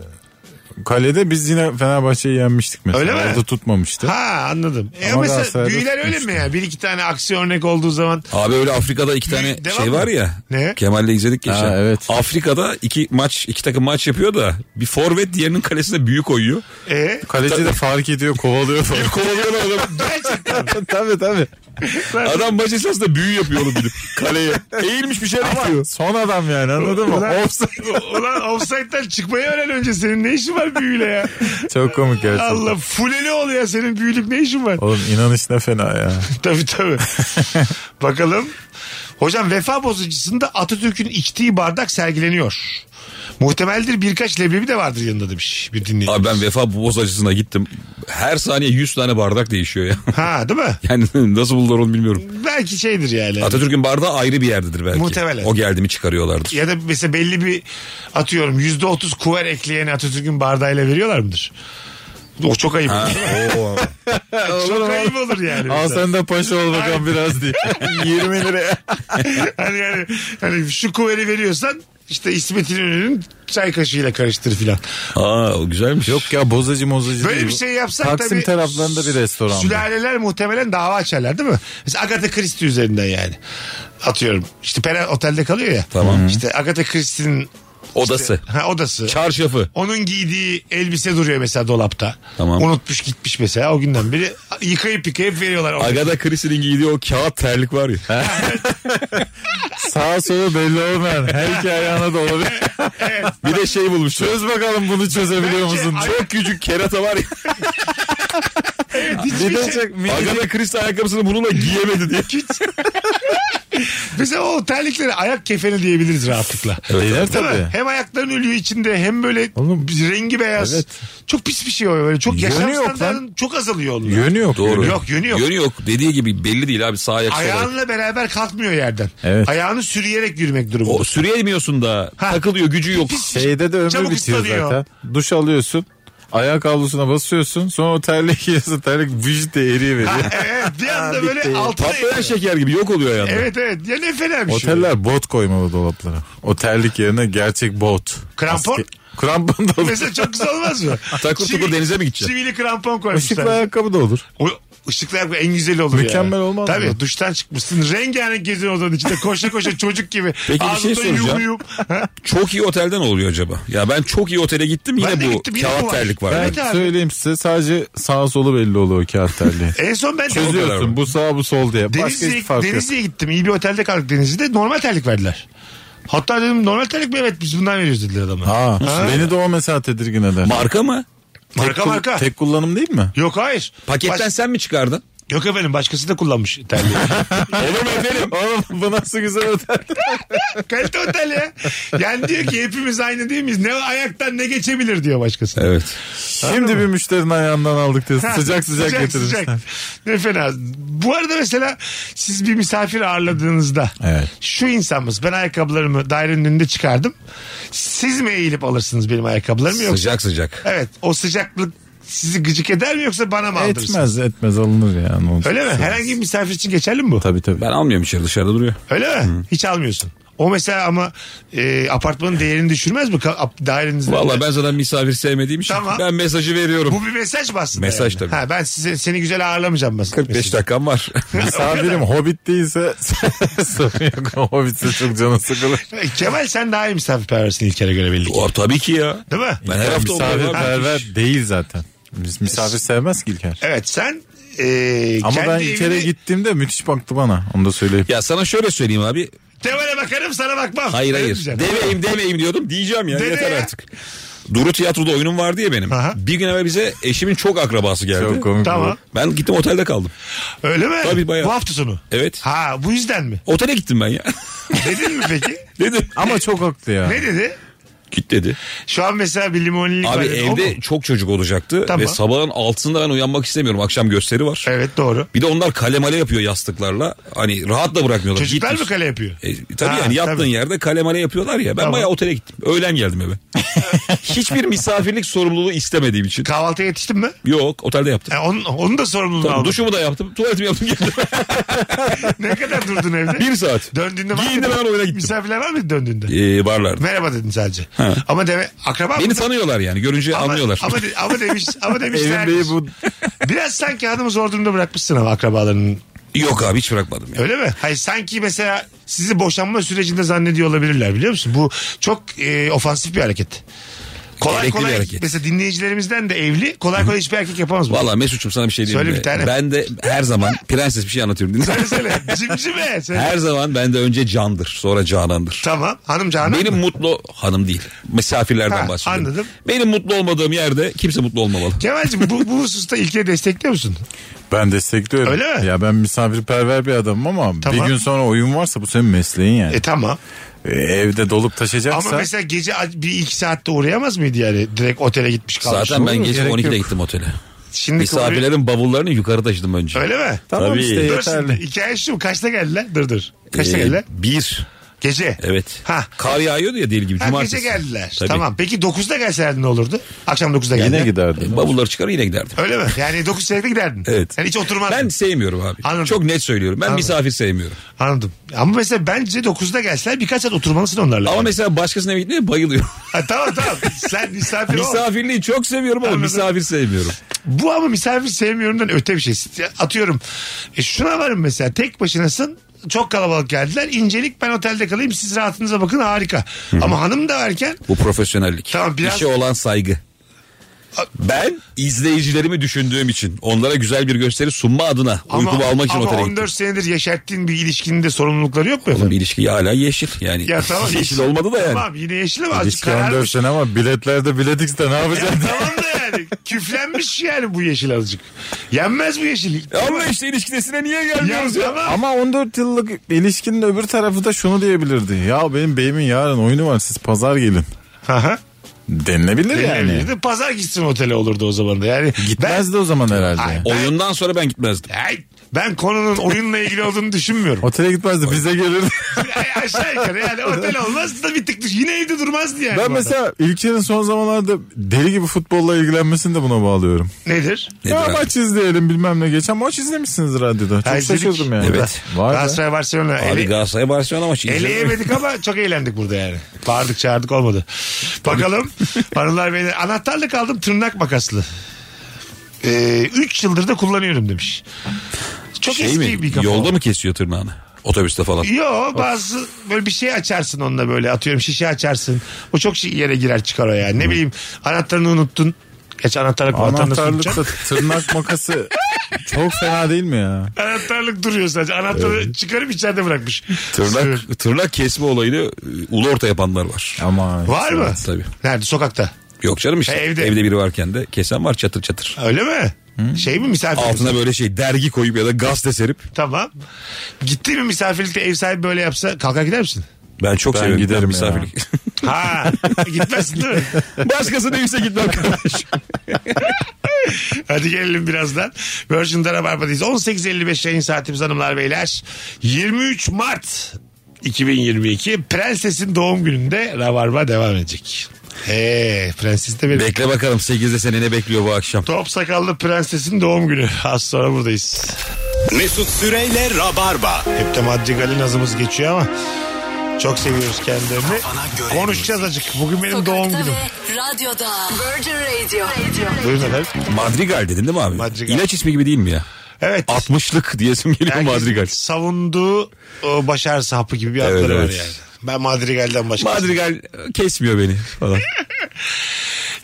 kalede biz yine Fenerbahçe'yi yenmiştik mesela. Öyle mi? Orada tutmamıştı. Ha anladım. E Ama mesela Galatasaray'da büyüler öyle mi ya? Bir iki tane aksi örnek olduğu zaman Abi öyle Afrika'da iki tane Devam şey mı? var ya. Ne? Kemal'le izledik geçen. Ha, evet. Afrika'da iki maç iki takım maç yapıyor da bir forvet diğerinin kalesine büyü koyuyor. e, Kaleci de fark ediyor kovalıyor falan. Kovalıyorlar adamı. gerçekten tabii tabii. Adam maç esnasında büyü yapıyor oğlum gidip kaleye. Eğilmiş bir şey yapıyor. Son adam yani anladın mı? Ulan- Offside. ulan offside'den çıkmayı öğren önce senin ne işin var büyüyle ya? Çok komik gerçekten. Allah fuleli ol ya senin büyülük ne işin var? Oğlum inanış ne fena ya. tabii tabii. Bakalım. Hocam vefa bozucusunda Atatürk'ün içtiği bardak sergileniyor. Muhtemeldir birkaç leblebi de vardır yanında demiş bir dinleyici. Abi ben vefa bozacısına gittim. Her saniye 100 tane bardak değişiyor ya. Ha değil mi? Yani nasıl buldular onu bilmiyorum. Belki şeydir yani. Atatürk'ün bardağı ayrı bir yerdedir belki. Muhtemelen. O geldi mi çıkarıyorlardır. ya da mesela belli bir atıyorum yüzde otuz kuver ekleyeni Atatürk'ün bardağıyla veriyorlar mıdır? O çok ayıp. çok ayıp olur yani. Al mesela. sen de paşa ol bakalım biraz diye. 20 liraya. Hani yani hani şu kuveri veriyorsan işte İsmet İnönü'nün çay kaşığıyla karıştır filan. Aa o güzelmiş. Yok. Yok ya bozacı mozacı Böyle değil. bir şey yapsak Taksim tabii taraflarında bir restoran. var. Sülaleler muhtemelen dava açarlar değil mi? Mesela Agatha Christie üzerinden yani. Atıyorum. İşte Pera otelde kalıyor ya. Tamam. İşte Agatha Christie'nin Odası. ha, odası. Çarşafı. Onun giydiği elbise duruyor mesela dolapta. Tamam. Unutmuş gitmiş mesela o günden beri. Yıkayıp yıkayıp veriyorlar. ona. Agatha Christie'nin giydiği o kağıt terlik var ya. Sağa sola belli olmayan her şey iki ayağına da olabilir. bir de şey bulmuşlar. Çöz bakalım bunu çözebiliyor Bence musun? ay- Çok küçük kerata var ya. şey- Bir de çok minicik Agatha Christie ayakkabısını bununla giyemedi diye. Mesela o terlikleri ayak kefeni diyebiliriz rahatlıkla. Beyler Değil mi? tabii. Hem ayakların ölüyor içinde hem böyle Oğlum, bir rengi beyaz. evet. Çok pis bir şey o böyle. Çok Yönü yaşam yok lan. standartın çok azalıyor onun. Yönü yok. Doğru. Yok, yönü yok. Yönü yok. Dediği gibi belli değil abi sağ ayak sol ayak. Ayağınla beraber kalkmıyor yerden. Evet. Ayağını sürüyerek yürümek durumunda. O süreyemiyorsun da. Ha. şey- Takılıyor gücü yok. Şeyde de ömür Çabuk bitiyor ıslanıyor. zaten. Duş alıyorsun. Ayak havlusuna basıyorsun. Sonra o terlik giyiyorsun. Terlik vücut de eriye veriyor. Evet, bir anda böyle altına Patlayan şeker gibi yok oluyor yani. Evet evet. Ya ne fena bir şey. Oteller bot koymalı dolaplara. O terlik yerine gerçek bot. Krampon? Aske- Krampon da olur. Mesela çok güzel olmaz mı? Takır tukur Çivi- denize mi gideceksin? Çivili krampon Işıklı koymuşlar. ayakkabı da olur. O, ışıklı yapmak en güzeli olur yani. Mükemmel olmaz Tabii mı? duştan çıkmışsın. Rengarenk geziyorsun odanın içinde. Koşa koşa çocuk gibi. Peki bir şey Ağzında soracağım. yum yum. Ha? Çok iyi otelden oluyor acaba? Ya ben çok iyi otele gittim yine Ben de bu gittim, yine bu kağıt var. terlik var. Evet. Evet. abi. Söyleyeyim size sadece sağ solu belli oluyor o kağıt terliği. En son ben de kadar mı? Çözüyorsun bu sağ bu sol diye. Başka Denizli'ye, hiçbir fark yok. Denizli'ye gittim. İyi bir otelde kaldık Denizli'de. Normal terlik verdiler. Hatta dedim normal terlik mi? Evet biz bundan veriyoruz dediler adamlar. Ha, beni de o mesela tedirgin eder. Marka mı? marka Kul- marka. Tek kullanım değil mi? Yok hayır. Paketten Baş- sen mi çıkardın? Yok efendim başkası da kullanmış terliği. Olur mu efendim? Oğlum bu nasıl güzel öter. Kalite otel ya. Yani diyor ki hepimiz aynı değil miyiz? Ne ayaktan ne geçebilir diyor başkası. Evet. Şimdi bir müşterinin ayağından aldık diye sıcak sıcak getirirsin. Ne fena. Bu arada mesela siz bir misafir ağırladığınızda Evet. şu insanımız ben ayakkabılarımı dairenin önünde çıkardım. Siz mi eğilip alırsınız benim ayakkabılarımı yoksa? Sıcak sıcak. Evet o sıcaklık sizi gıcık eder mi yoksa bana mı aldırırsınız? Etmez etmez alınır yani. Onu Öyle mi? Herhangi bir misafir için geçerli mi bu? Tabii tabii. Ben almıyorum içeri dışarıda duruyor. Öyle mi? Hiç almıyorsun. O mesela ama e, apartmanın değerini düşürmez mi? Ka- ap- Dairenizde. Vallahi ben zaten misafir sevmediğim için Tamam. ben mesajı veriyorum. Bu bir mesaj mı aslında? Mesaj yani? tabii. Ha, ben size, seni güzel ağırlamayacağım mesela. 45 dakikam var. şey Misafirim hobbit değilse sorun yok. Hobbitse çok canı sıkılır. E, Kemal sen daha iyi misafirperversin İlker'e göre belli ki. O, tabii ki ya. Değil mi? Ben her hafta oluyorum abi. Misafirperver değil zaten. Biz misafir sevmez ki İlker. Evet sen e, Ama ben kendi İlker'e evine- gittiğimde müthiş baktı bana. Onu da söyleyeyim. Ya sana şöyle söyleyeyim abi. Kemal'e bakarım sana bakmam. Hayır Öyle hayır. diyeceğim. Demeyim demeyim diyordum. Diyeceğim ya. Dene yeter ya. artık. Duru tiyatroda oyunum vardı ya benim. Aha. Bir gün evvel bize eşimin çok akrabası geldi. Çok komik Tamam. oldu. Ben gittim otelde kaldım. Öyle mi? Tabii, bayağı. Bu hafta sonu. Evet. Ha bu yüzden mi? Otele gittim ben ya. Dedin mi peki? Dedim. Ama çok haklı ya. ne dedi? Git dedi. Şu an mesela bir limonlilik Abi var. O evde mu? çok çocuk olacaktı. Tamam. Ve sabahın altında ben uyanmak istemiyorum. Akşam gösteri var. Evet doğru. Bir de onlar kale male yapıyor yastıklarla. Hani rahat da bırakmıyorlar. Çocuklar Git. mı kale yapıyor? E, tabii Ha, yani yattığın tabii. yerde kale male yapıyorlar ya. Ben Tamam. bayağı otele gittim. Öğlen geldim eve. Hiçbir misafirlik sorumluluğu istemediğim için. Kahvaltıya yetiştin mi? Yok otelde yaptım. E, onun, onun da sorumluluğunu Tamam, aldın. duşumu da yaptım. Tuvaletimi yaptım geldim. Ne kadar durdun evde? bir saat. Döndüğünde var Giyindim mıydı? hemen oyuna gittim. Misafirler var mıydı döndüğünde? Ee, barlarda. Merhaba dedin sadece. Ama deme akraba mı? Beni tanıyorlar yani. Görünce Ama- anlıyorlar. Ama, de- ama demiş ama demişler. Evin beyi bu. Biraz sanki hanımı zor durumda bırakmışsın ama akrabalarının. Yok abi hiç bırakmadım. Ya. Öyle mi? Hayır sanki mesela sizi boşanma sürecinde zannediyor olabilirler biliyor musun? Bu çok e, ofansif bir hareket. Kolay Gerekli kolay bir hareket. mesela dinleyicilerimizden de evli kolay kolay hiçbir erkek yapamaz bunu. Valla Mesut'cum sana bir şey diyeyim Söyle mi? bir tane. Ben de her zaman prenses bir şey anlatıyorum. Dinle. Söyle söyle. Cimcime. Söyle. Her zaman ben de önce candır sonra canandır. Tamam. Hanım Canan. Benim mutlu hanım değil. Misafirlerden Ha, bahsediyorum. anladım. Benim mutlu olmadığım yerde kimse mutlu olmamalı. Kemal'cim bu, bu hususta İlker'i destekliyor musun? Ben destekliyorum. Öyle mi? Ya ben misafirperver bir adamım ama Tamam. bir gün sonra oyun varsa bu senin mesleğin yani. E tamam. E, evde dolup Ama taşacaksa. mesela gece ac- bir iki saatte uğrayamaz mıydı yani? Direkt otele gitmiş kalmış. Zaten ben mu? gece Gerek 12'de yok. gittim otele. Şimdi Misafirler... Misafirlerin bavullarını yukarı taşıdım önce. Öyle mi? Tamam Tabii. işte Dur şimdi. yeterli. Hikaye şu. Kaçta geldiler? Dur dur. Kaçta Ee, geldiler? bir. Gece. Evet. Ha. Kar yağıyordu ya deli gibi. Ha, Cumartesi. gece geldiler. Tabii. Tamam. Peki 9'da gelselerdi ne olurdu? Akşam 9'da geldiler. Yine giderdim. E, Bavulları çıkarıp yine giderdim. Öyle mi? Yani 9 çeyrekte giderdin. Evet. Yani hiç oturmazdın. Ben sevmiyorum abi. Anladım. Çok net söylüyorum. Ben Anladım. misafir sevmiyorum. Anladım. Ama mesela bence 9'da gelseler birkaç saat oturmalısın onlarla. Ama Yani. mesela başkasının eve gitmeye bayılıyorum. Ha, tamam tamam. Sen misafir ol. Misafirliği çok seviyorum ama Anladım. misafir sevmiyorum. Bu ama misafir sevmiyorumdan öte bir şey. Atıyorum. E şuna varım mesela tek başınasın. Çok kalabalık geldiler. İncelik ben otelde kalayım siz rahatınıza bakın harika. Ama hanım da varken Bu profesyonellik. Tamam, biraz- İşe olan saygı. Ben izleyicilerimi düşündüğüm için onlara güzel bir gösteri sunma adına ama, uykumu almak için ama otele 14 gittim. senedir yaşattığın bir ilişkinin de sorumlulukları yok mu Oğlum efendim? ilişki hala yeşil yani. Ya tamam. yeşil olmadı da yani. Tamam yine yeşil ama azıcık İlişki 14 kararmış. sene ama biletlerde bilet X'de ne Ya yapacaksın? tamam da yani küflenmiş yani bu yeşil azıcık. Yenmez bu yeşil. Ama işte ilişkisine niye Ya gelmiyoruz ya? tamam. Ama 14 yıllık ilişkinin öbür tarafı da şunu diyebilirdi. Ya benim beyimin yarın oyunu var siz pazar gelin. Aha. Denilebilir yani. Yani. Pazar gitsin otele olurdu o zaman da. Yani Gitmezdi o zaman herhalde. Ay, Oyundan sonra ben gitmezdim. Ben, Ay, ben konunun oyunla ilgili olduğunu düşünmüyorum. Otele gitmezdi bize gelirdi. Ay, Aşağı yukarı yani otel olmaz da bir tık düş. Yine evde durmazdı yani. ben bu adam. mesela İlker'in son zamanlarda deli gibi futbolla ilgilenmesini de buna bağlıyorum. Nedir? Nedir ya abi? maç izleyelim bilmem ne. Geçen maç izlemişsiniz radyoda. Çok Ha, izledik. şaşırdım yani. Evet. Var be. Galatasaray Barcelona. Abi Ele, Galatasaray Barcelona maçı. izledim. eleyemedik ama çok eğlendik burada yani. Bağırdık çağırdık olmadı. Bakalım hanımlar beyler anahtarlık aldım tırnak makaslı. Ee, üç yıldır da kullanıyorum demiş. Çok Şey eski mi? bir kafa. Yolda mı kesiyor tırnağını? Otobüste falan. Yo bazı böyle bir şey açarsın onunla böyle atıyorum şişe açarsın. O çok şey- yere girer çıkar o yani. Ne bileyim anahtarını unuttun. Geç anahtarlık mı? Anahtarını Anahtarlıkla sunacaksın. tırnak makası çok fena değil mi ya? Anahtarlık duruyor sadece. Anahtarı çıkarıp içeride bırakmış. Sürüyor. Tırnak, tırnak kesme olayını e, ulu orta yapanlar var. Ama Var mı? Tabii. Nerede? Sokakta. Yok canım işte. Ha, evde. evde. biri varken de kesen var çatır çatır. Öyle mi? Şey mi misafir? Altına böyle şey dergi koyup ya da gazete serip. Tamam. Gitti mi misafirlikte ev sahibi böyle yapsa kalkar gider misin? Ben çok Ben severim giderim ya. misafirlik. Ha gitmezsin değil mi? Başkasının evine gitmem kardeşim. Hadi gelelim birazdan. Virgin'de Rabarba'dayız. 18.55 yayın saatimiz hanımlar beyler. 23 Mart 2022 Prenses'in doğum gününde Rabarba devam edecek. Eee Prenses de benim. Bekle bakalım 8'de seni ne bekliyor bu akşam. Top sakallı Prenses'in doğum günü. Az sonra buradayız. Mesut Süreyle Rabarba. Hep de Maddi Galin azımız geçiyor ama çok seviyoruz kendilerini. Konuşacağız azıcık. Bugün benim doğum günüm. Radyoda. Virgin Radio. Buyurun efendim. Madrigal dedin değil mi abi? Madrigal. İlaç ismi gibi değil mi ya? Evet. 60'lık diyesim geliyor Herkesin Madrigal. Savunduğu o baş ağrısı hapı gibi bir Evet, adları var evet. yani. Ben Madrigal'den başka. Madrigal e, kesmiyor beni falan.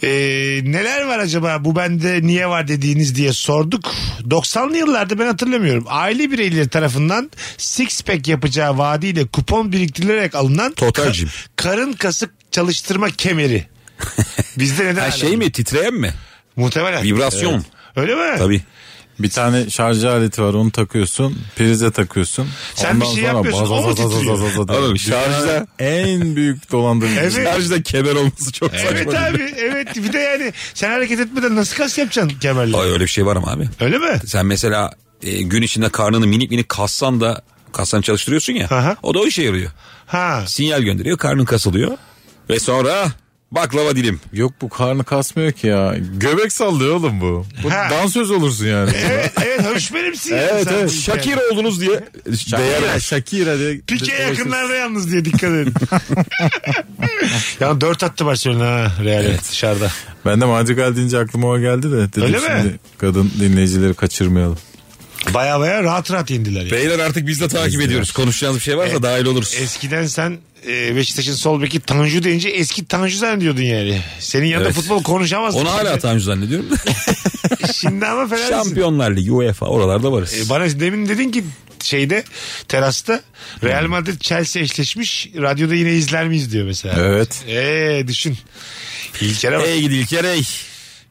Ee, neler var acaba bu bende niye var dediğiniz diye sorduk. 90'lı yıllarda ben hatırlamıyorum. Aile bireyleri tarafından six pack yapacağı vaadiyle kupon biriktirilerek alınan Total gym. karın kasık çalıştırma kemeri. Bizde neden? Ha, hala şey var? mi titreyen mi? Muhtemelen. Vibrasyon. Öyle mi? Tabii. bir tane şarj aleti var onu takıyorsun prize takıyorsun. Sen bir şey yapmıyorsun, o mu titriyor? diye. Oğlum şarjda- en büyük dolandırıcı. Evet. Şarjda kemer olması çok Evet saçma. değil mi? abi evet bir de yani sen hareket etmeden nasıl kas yapacaksın kemerle? Ay öyle bir şey var ama abi. Öyle mi? Sen mesela e, gün içinde karnını minik minik kassan da kassan çalıştırıyorsun ya. Aha. O da o işe yarıyor. Ha. Sinyal gönderiyor karnın kasılıyor. Ve sonra baklava dilim. Yok bu karnı kasmıyor ki ya. Göbek sallıyor oğlum bu. Bu Ha. dansöz olursun yani. Evet E, evet hoş benimsin. ya sen bu işe. Şakir oldunuz diye. Değer Shakira diye. Pike yakınlarda yalnız diye dikkat edin. ya dört attı Barcelona ha Real'e dışarıda. Ben de Madrigal deyince aklıma o geldi de. Dedim Öyle mi? şimdi kadın dinleyicileri kaçırmayalım. Baya baya rahat rahat yendiler. ya. Beyler artık biz de takip ediyoruz. Konuşacağınız bir şey E, varsa dahil oluruz. Eskiden sen e, Beşiktaş'ın sol beki Tanju deyince eski Tanju zannediyordun yani. Senin yanında Evet. futbol konuşamazdın. Onu hala Şimdi- Tanju zannediyorum. e, Şimdi ama fena değilsin. Şampiyonlar Ligi, UEFA oralarda varız. E, Bana demin dedin ki şeyde terasta Hmm. Real Madrid Chelsea eşleşmiş radyoda yine izler miyiz diyor mesela. Evet. Eee düşün. İlker'e bak. Ey gidi İlker ey.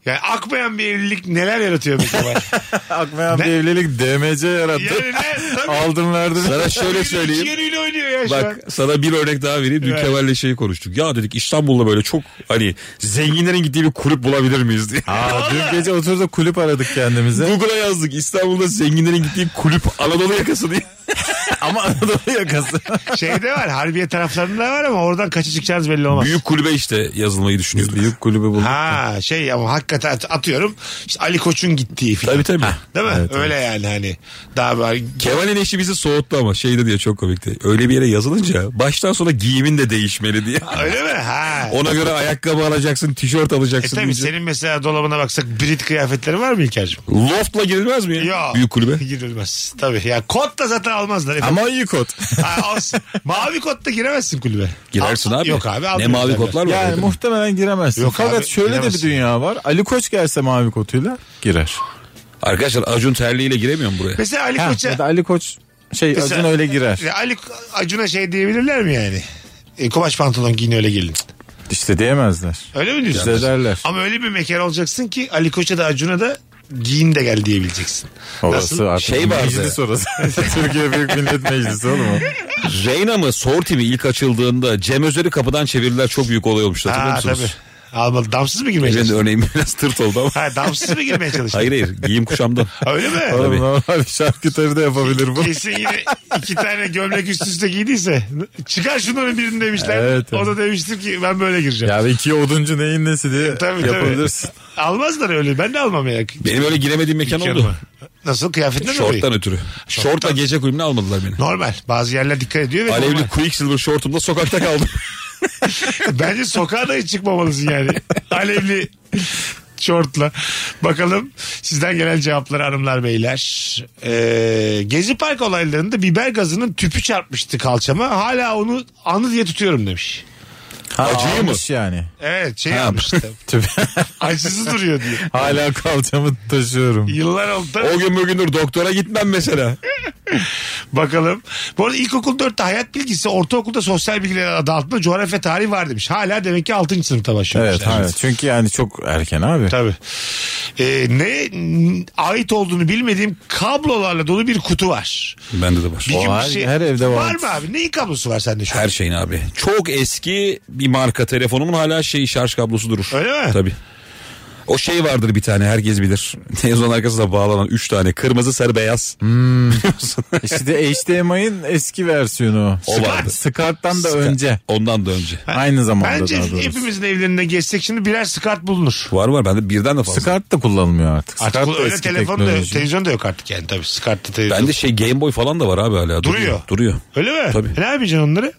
Yani akmayan bir evlilik neler yaratıyor mesela. Akmayan Ne? bir evlilik DMC yarattı. yani ne? Tabii. Aldım verdim. Sana şöyle İki söyleyeyim. yönüyle oynuyor ya şu an. Bak sana bir örnek daha vereyim. Dün Evet. Kemal'le şeyi konuştuk. Ya dedik İstanbul'da böyle çok hani zenginlerin gittiği bir kulüp bulabilir miyiz diye. Aa, dün gece oturduk kulüp aradık kendimize. Google'a yazdık İstanbul'da zenginlerin gittiği kulüp Anadolu yakası diye. Ama Anadolu yakası. Şeyde var. Harbiye taraflarında var ama oradan kaça çıkacağınız belli olmaz. Büyük kulübe işte yazılmayı düşünüyorduk. Büyük kulübü bulduk. Ha şey ama hakikaten at- atıyorum işte Ali Koç'un gittiği filan. Tabii tabii. Değil mi? Öyle yani hani daha böyle Kemal'in eşi bizi soğuttu ama şeydi diye çok komikti. Öyle bir yere yazılınca baştan sona giyimin de değişmeli diye. Öyle mi? Ha. Ona göre ayakkabı alacaksın, tişört E alacaksın. tabii diyecek. senin mesela dolabına baksak Brit kıyafetleri var mı İlker'cim? Loft'la girilmez mi ya? Yok. Büyük kulübe. Girilmez. Tabii ya kot da zaten almazlar. efendim. Ama iyi kot. Ha, olsun. Mavi kot da giremezsin kulübe. Girersin Al- abi. Yok abi. Ne almıyorum mavi zaten. kotlar var. Yani orada. muhtemelen giremezsin. Yok Fakat abi, şöyle giremezsin. de bir dünya var. Ali Koç gelse mavi kotuyla girer. Arkadaşlar Acun terliğiyle giremiyor mu buraya? Mesela Ali Ha, Koç'a ya da Ali Koç şey Mesela- Acun öyle girer. Ya Ali Acun'a şey diyebilirler mi yani? E, kumaş pantolon giyin öyle gelin. İşte diyemezler. Öyle mi diyorsun? Bize derler. Ama öyle bir mekan olacaksın ki Ali Koç'a da Acun'a da giyin de gel diyebileceksin. Nasıl? Orası artık Şey vardı. meclis orası. Türkiye Büyük Millet Meclisi oğlum o. Reyna mı Sorti mi ilk açıldığında Cem Özer'i kapıdan çevirdiler çok büyük olay olmuştu hatırlıyor Ha tabii. musunuz? Almadı. Damsız mı girmeye Benim de çalıştın? örneğim biraz tırt oldu ama. Ha damsız mı girmeye çalıştın? Hayır hayır giyim kuşamdan. Öyle mi? Oğlum normal şarküteri de yapabilir bu. Kesin yine iki tane gömlek üst üste giydiyse çıkar şunların birini demişler. Evet, o evet. da demiştir ki ben böyle gireceğim. Ya iki oduncu neyin nesi diye Tabii, tabii. yapabilirsin. Almazlar öyle. Ben de almam ya. Benim öyle giremediğim mekan oldu. Dükkanıma. Nasıl? Kıyafetle mi? Şorttan dolayı? ötürü. Şortla gece kulübüne almadılar beni. Normal. Bazı yerler dikkat ediyor ve normal. Alevli Quicksilver şortumla sokakta kaldım. Bence sokağa da hiç çıkmamalısın yani. Alevli şortla. Bakalım sizden gelen cevapları hanımlar beyler. Ee, Gezi Park olaylarında biber gazının tüpü çarpmıştı kalçama. Hala onu anı diye tutuyorum demiş. Ha, Acıyı mı? almış yani. Evet şey yapmıştı. Tüp. Acısız duruyor diye. Hala kalçamı taşıyorum. Yıllar oldu. da- O gün bugündür doktora gitmem mesela. Bakalım. Bu arada ilkokul 4'te hayat bilgisi, ortaokulda sosyal bilgiler adı altında coğrafya tarihi var demiş. Hala demek ki 6. sınıfta başlıyormuş. Evet, evet. Çünkü yani çok erken abi. Tabii. Ee, ne n- ait olduğunu bilmediğim kablolarla dolu bir kutu var. Bende de var. Bir O gün bir her- her evde var. Var mı abi? Neyin kablosu var sende şu an? Her şeyin abi. Çok eski bir marka telefonumun hala şey şarj kablosu durur. Öyle mi? Tabii. O şey vardır bir tane herkes bilir. Televizyon arkasında bağlanan 3 tane kırmızı sarı beyaz. İşte HDMI'nin eski versiyonu. O vardı. Skart'tan da önce. Ondan da önce. Aynı zamanda Bence daha doğrusu. hepimizin evlerine geçsek şimdi birer skart bulunur. Var var bende birden de fazla. Skart da kullanılmıyor artık. Artık Skart da öyle eski telefon da, teknoloji. televizyon da yok artık yani tabii. Skart da televizyon. Bende şey Game Boy falan da var abi hala. Duruyor. Duruyor. Öyle mi? Tabii. E Ne yapacaksın onları?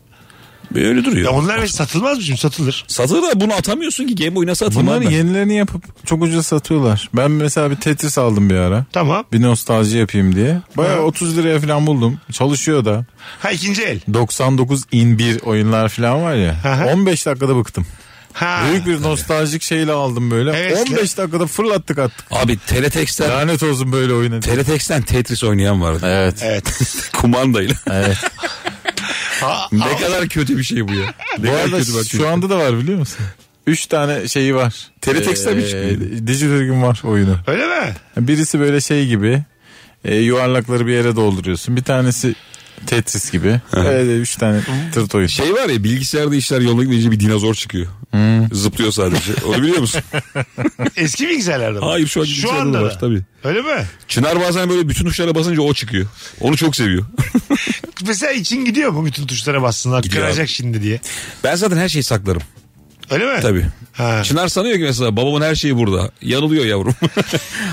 Böyle duruyor. Ya onlar hiç satılmaz mı şimdi? Satılır. Satılır da bunu atamıyorsun ki Game Boy nasıl atayım Bunları abi? yenilerini yapıp çok ucuza satıyorlar. Ben mesela bir Tetris aldım bir ara. Tamam. Bir nostalji yapayım diye. Bayağı 30 liraya falan buldum. Çalışıyor da. Ha ikinci el. 99 in 1 oyunlar falan var ya. Aha. 15 dakikada bıktım. Ha. Büyük bir nostaljik şeyle aldım böyle. Evet. 15 dakikada fırlattık attık. Abi Teletext'ten Lanet olsun böyle oyunu. Teletext'ten Tetris oynayan vardı. Evet. Evet. Kumandayla. Ha, ne kadar kötü bir şey bu ya. Ne Bu kadar arada kötü şey. bak. şu anda da var biliyor musun? 3 tane şeyi var. Teletext'ten üç ee, Digital gün var oyunu. öyle mi? Birisi böyle şey gibi e, yuvarlakları bir yere dolduruyorsun. Bir tanesi Tetris gibi. Öyle üç tane tırt oyun. Şey var ya bilgisayarda işler yoluna gidince bir dinozor çıkıyor. Zıplıyor sadece. Onu biliyor musun? Eski bilgisayarlarda mı? Hayır, şu anki Şu bilgisayarda anda var, da. tabii. Öyle mi? Çınar bazen böyle bütün tuşlara basınca o çıkıyor. Onu çok seviyor. Mesela için gidiyor mu bütün tuşlara bassınlar Gidiyor kıracak abi. şimdi diye. Ben zaten her şeyi saklarım. Öyle mi? Tabii. Ha. Çınar sanıyor ki mesela babamın her şeyi burada. Yanılıyor yavrum.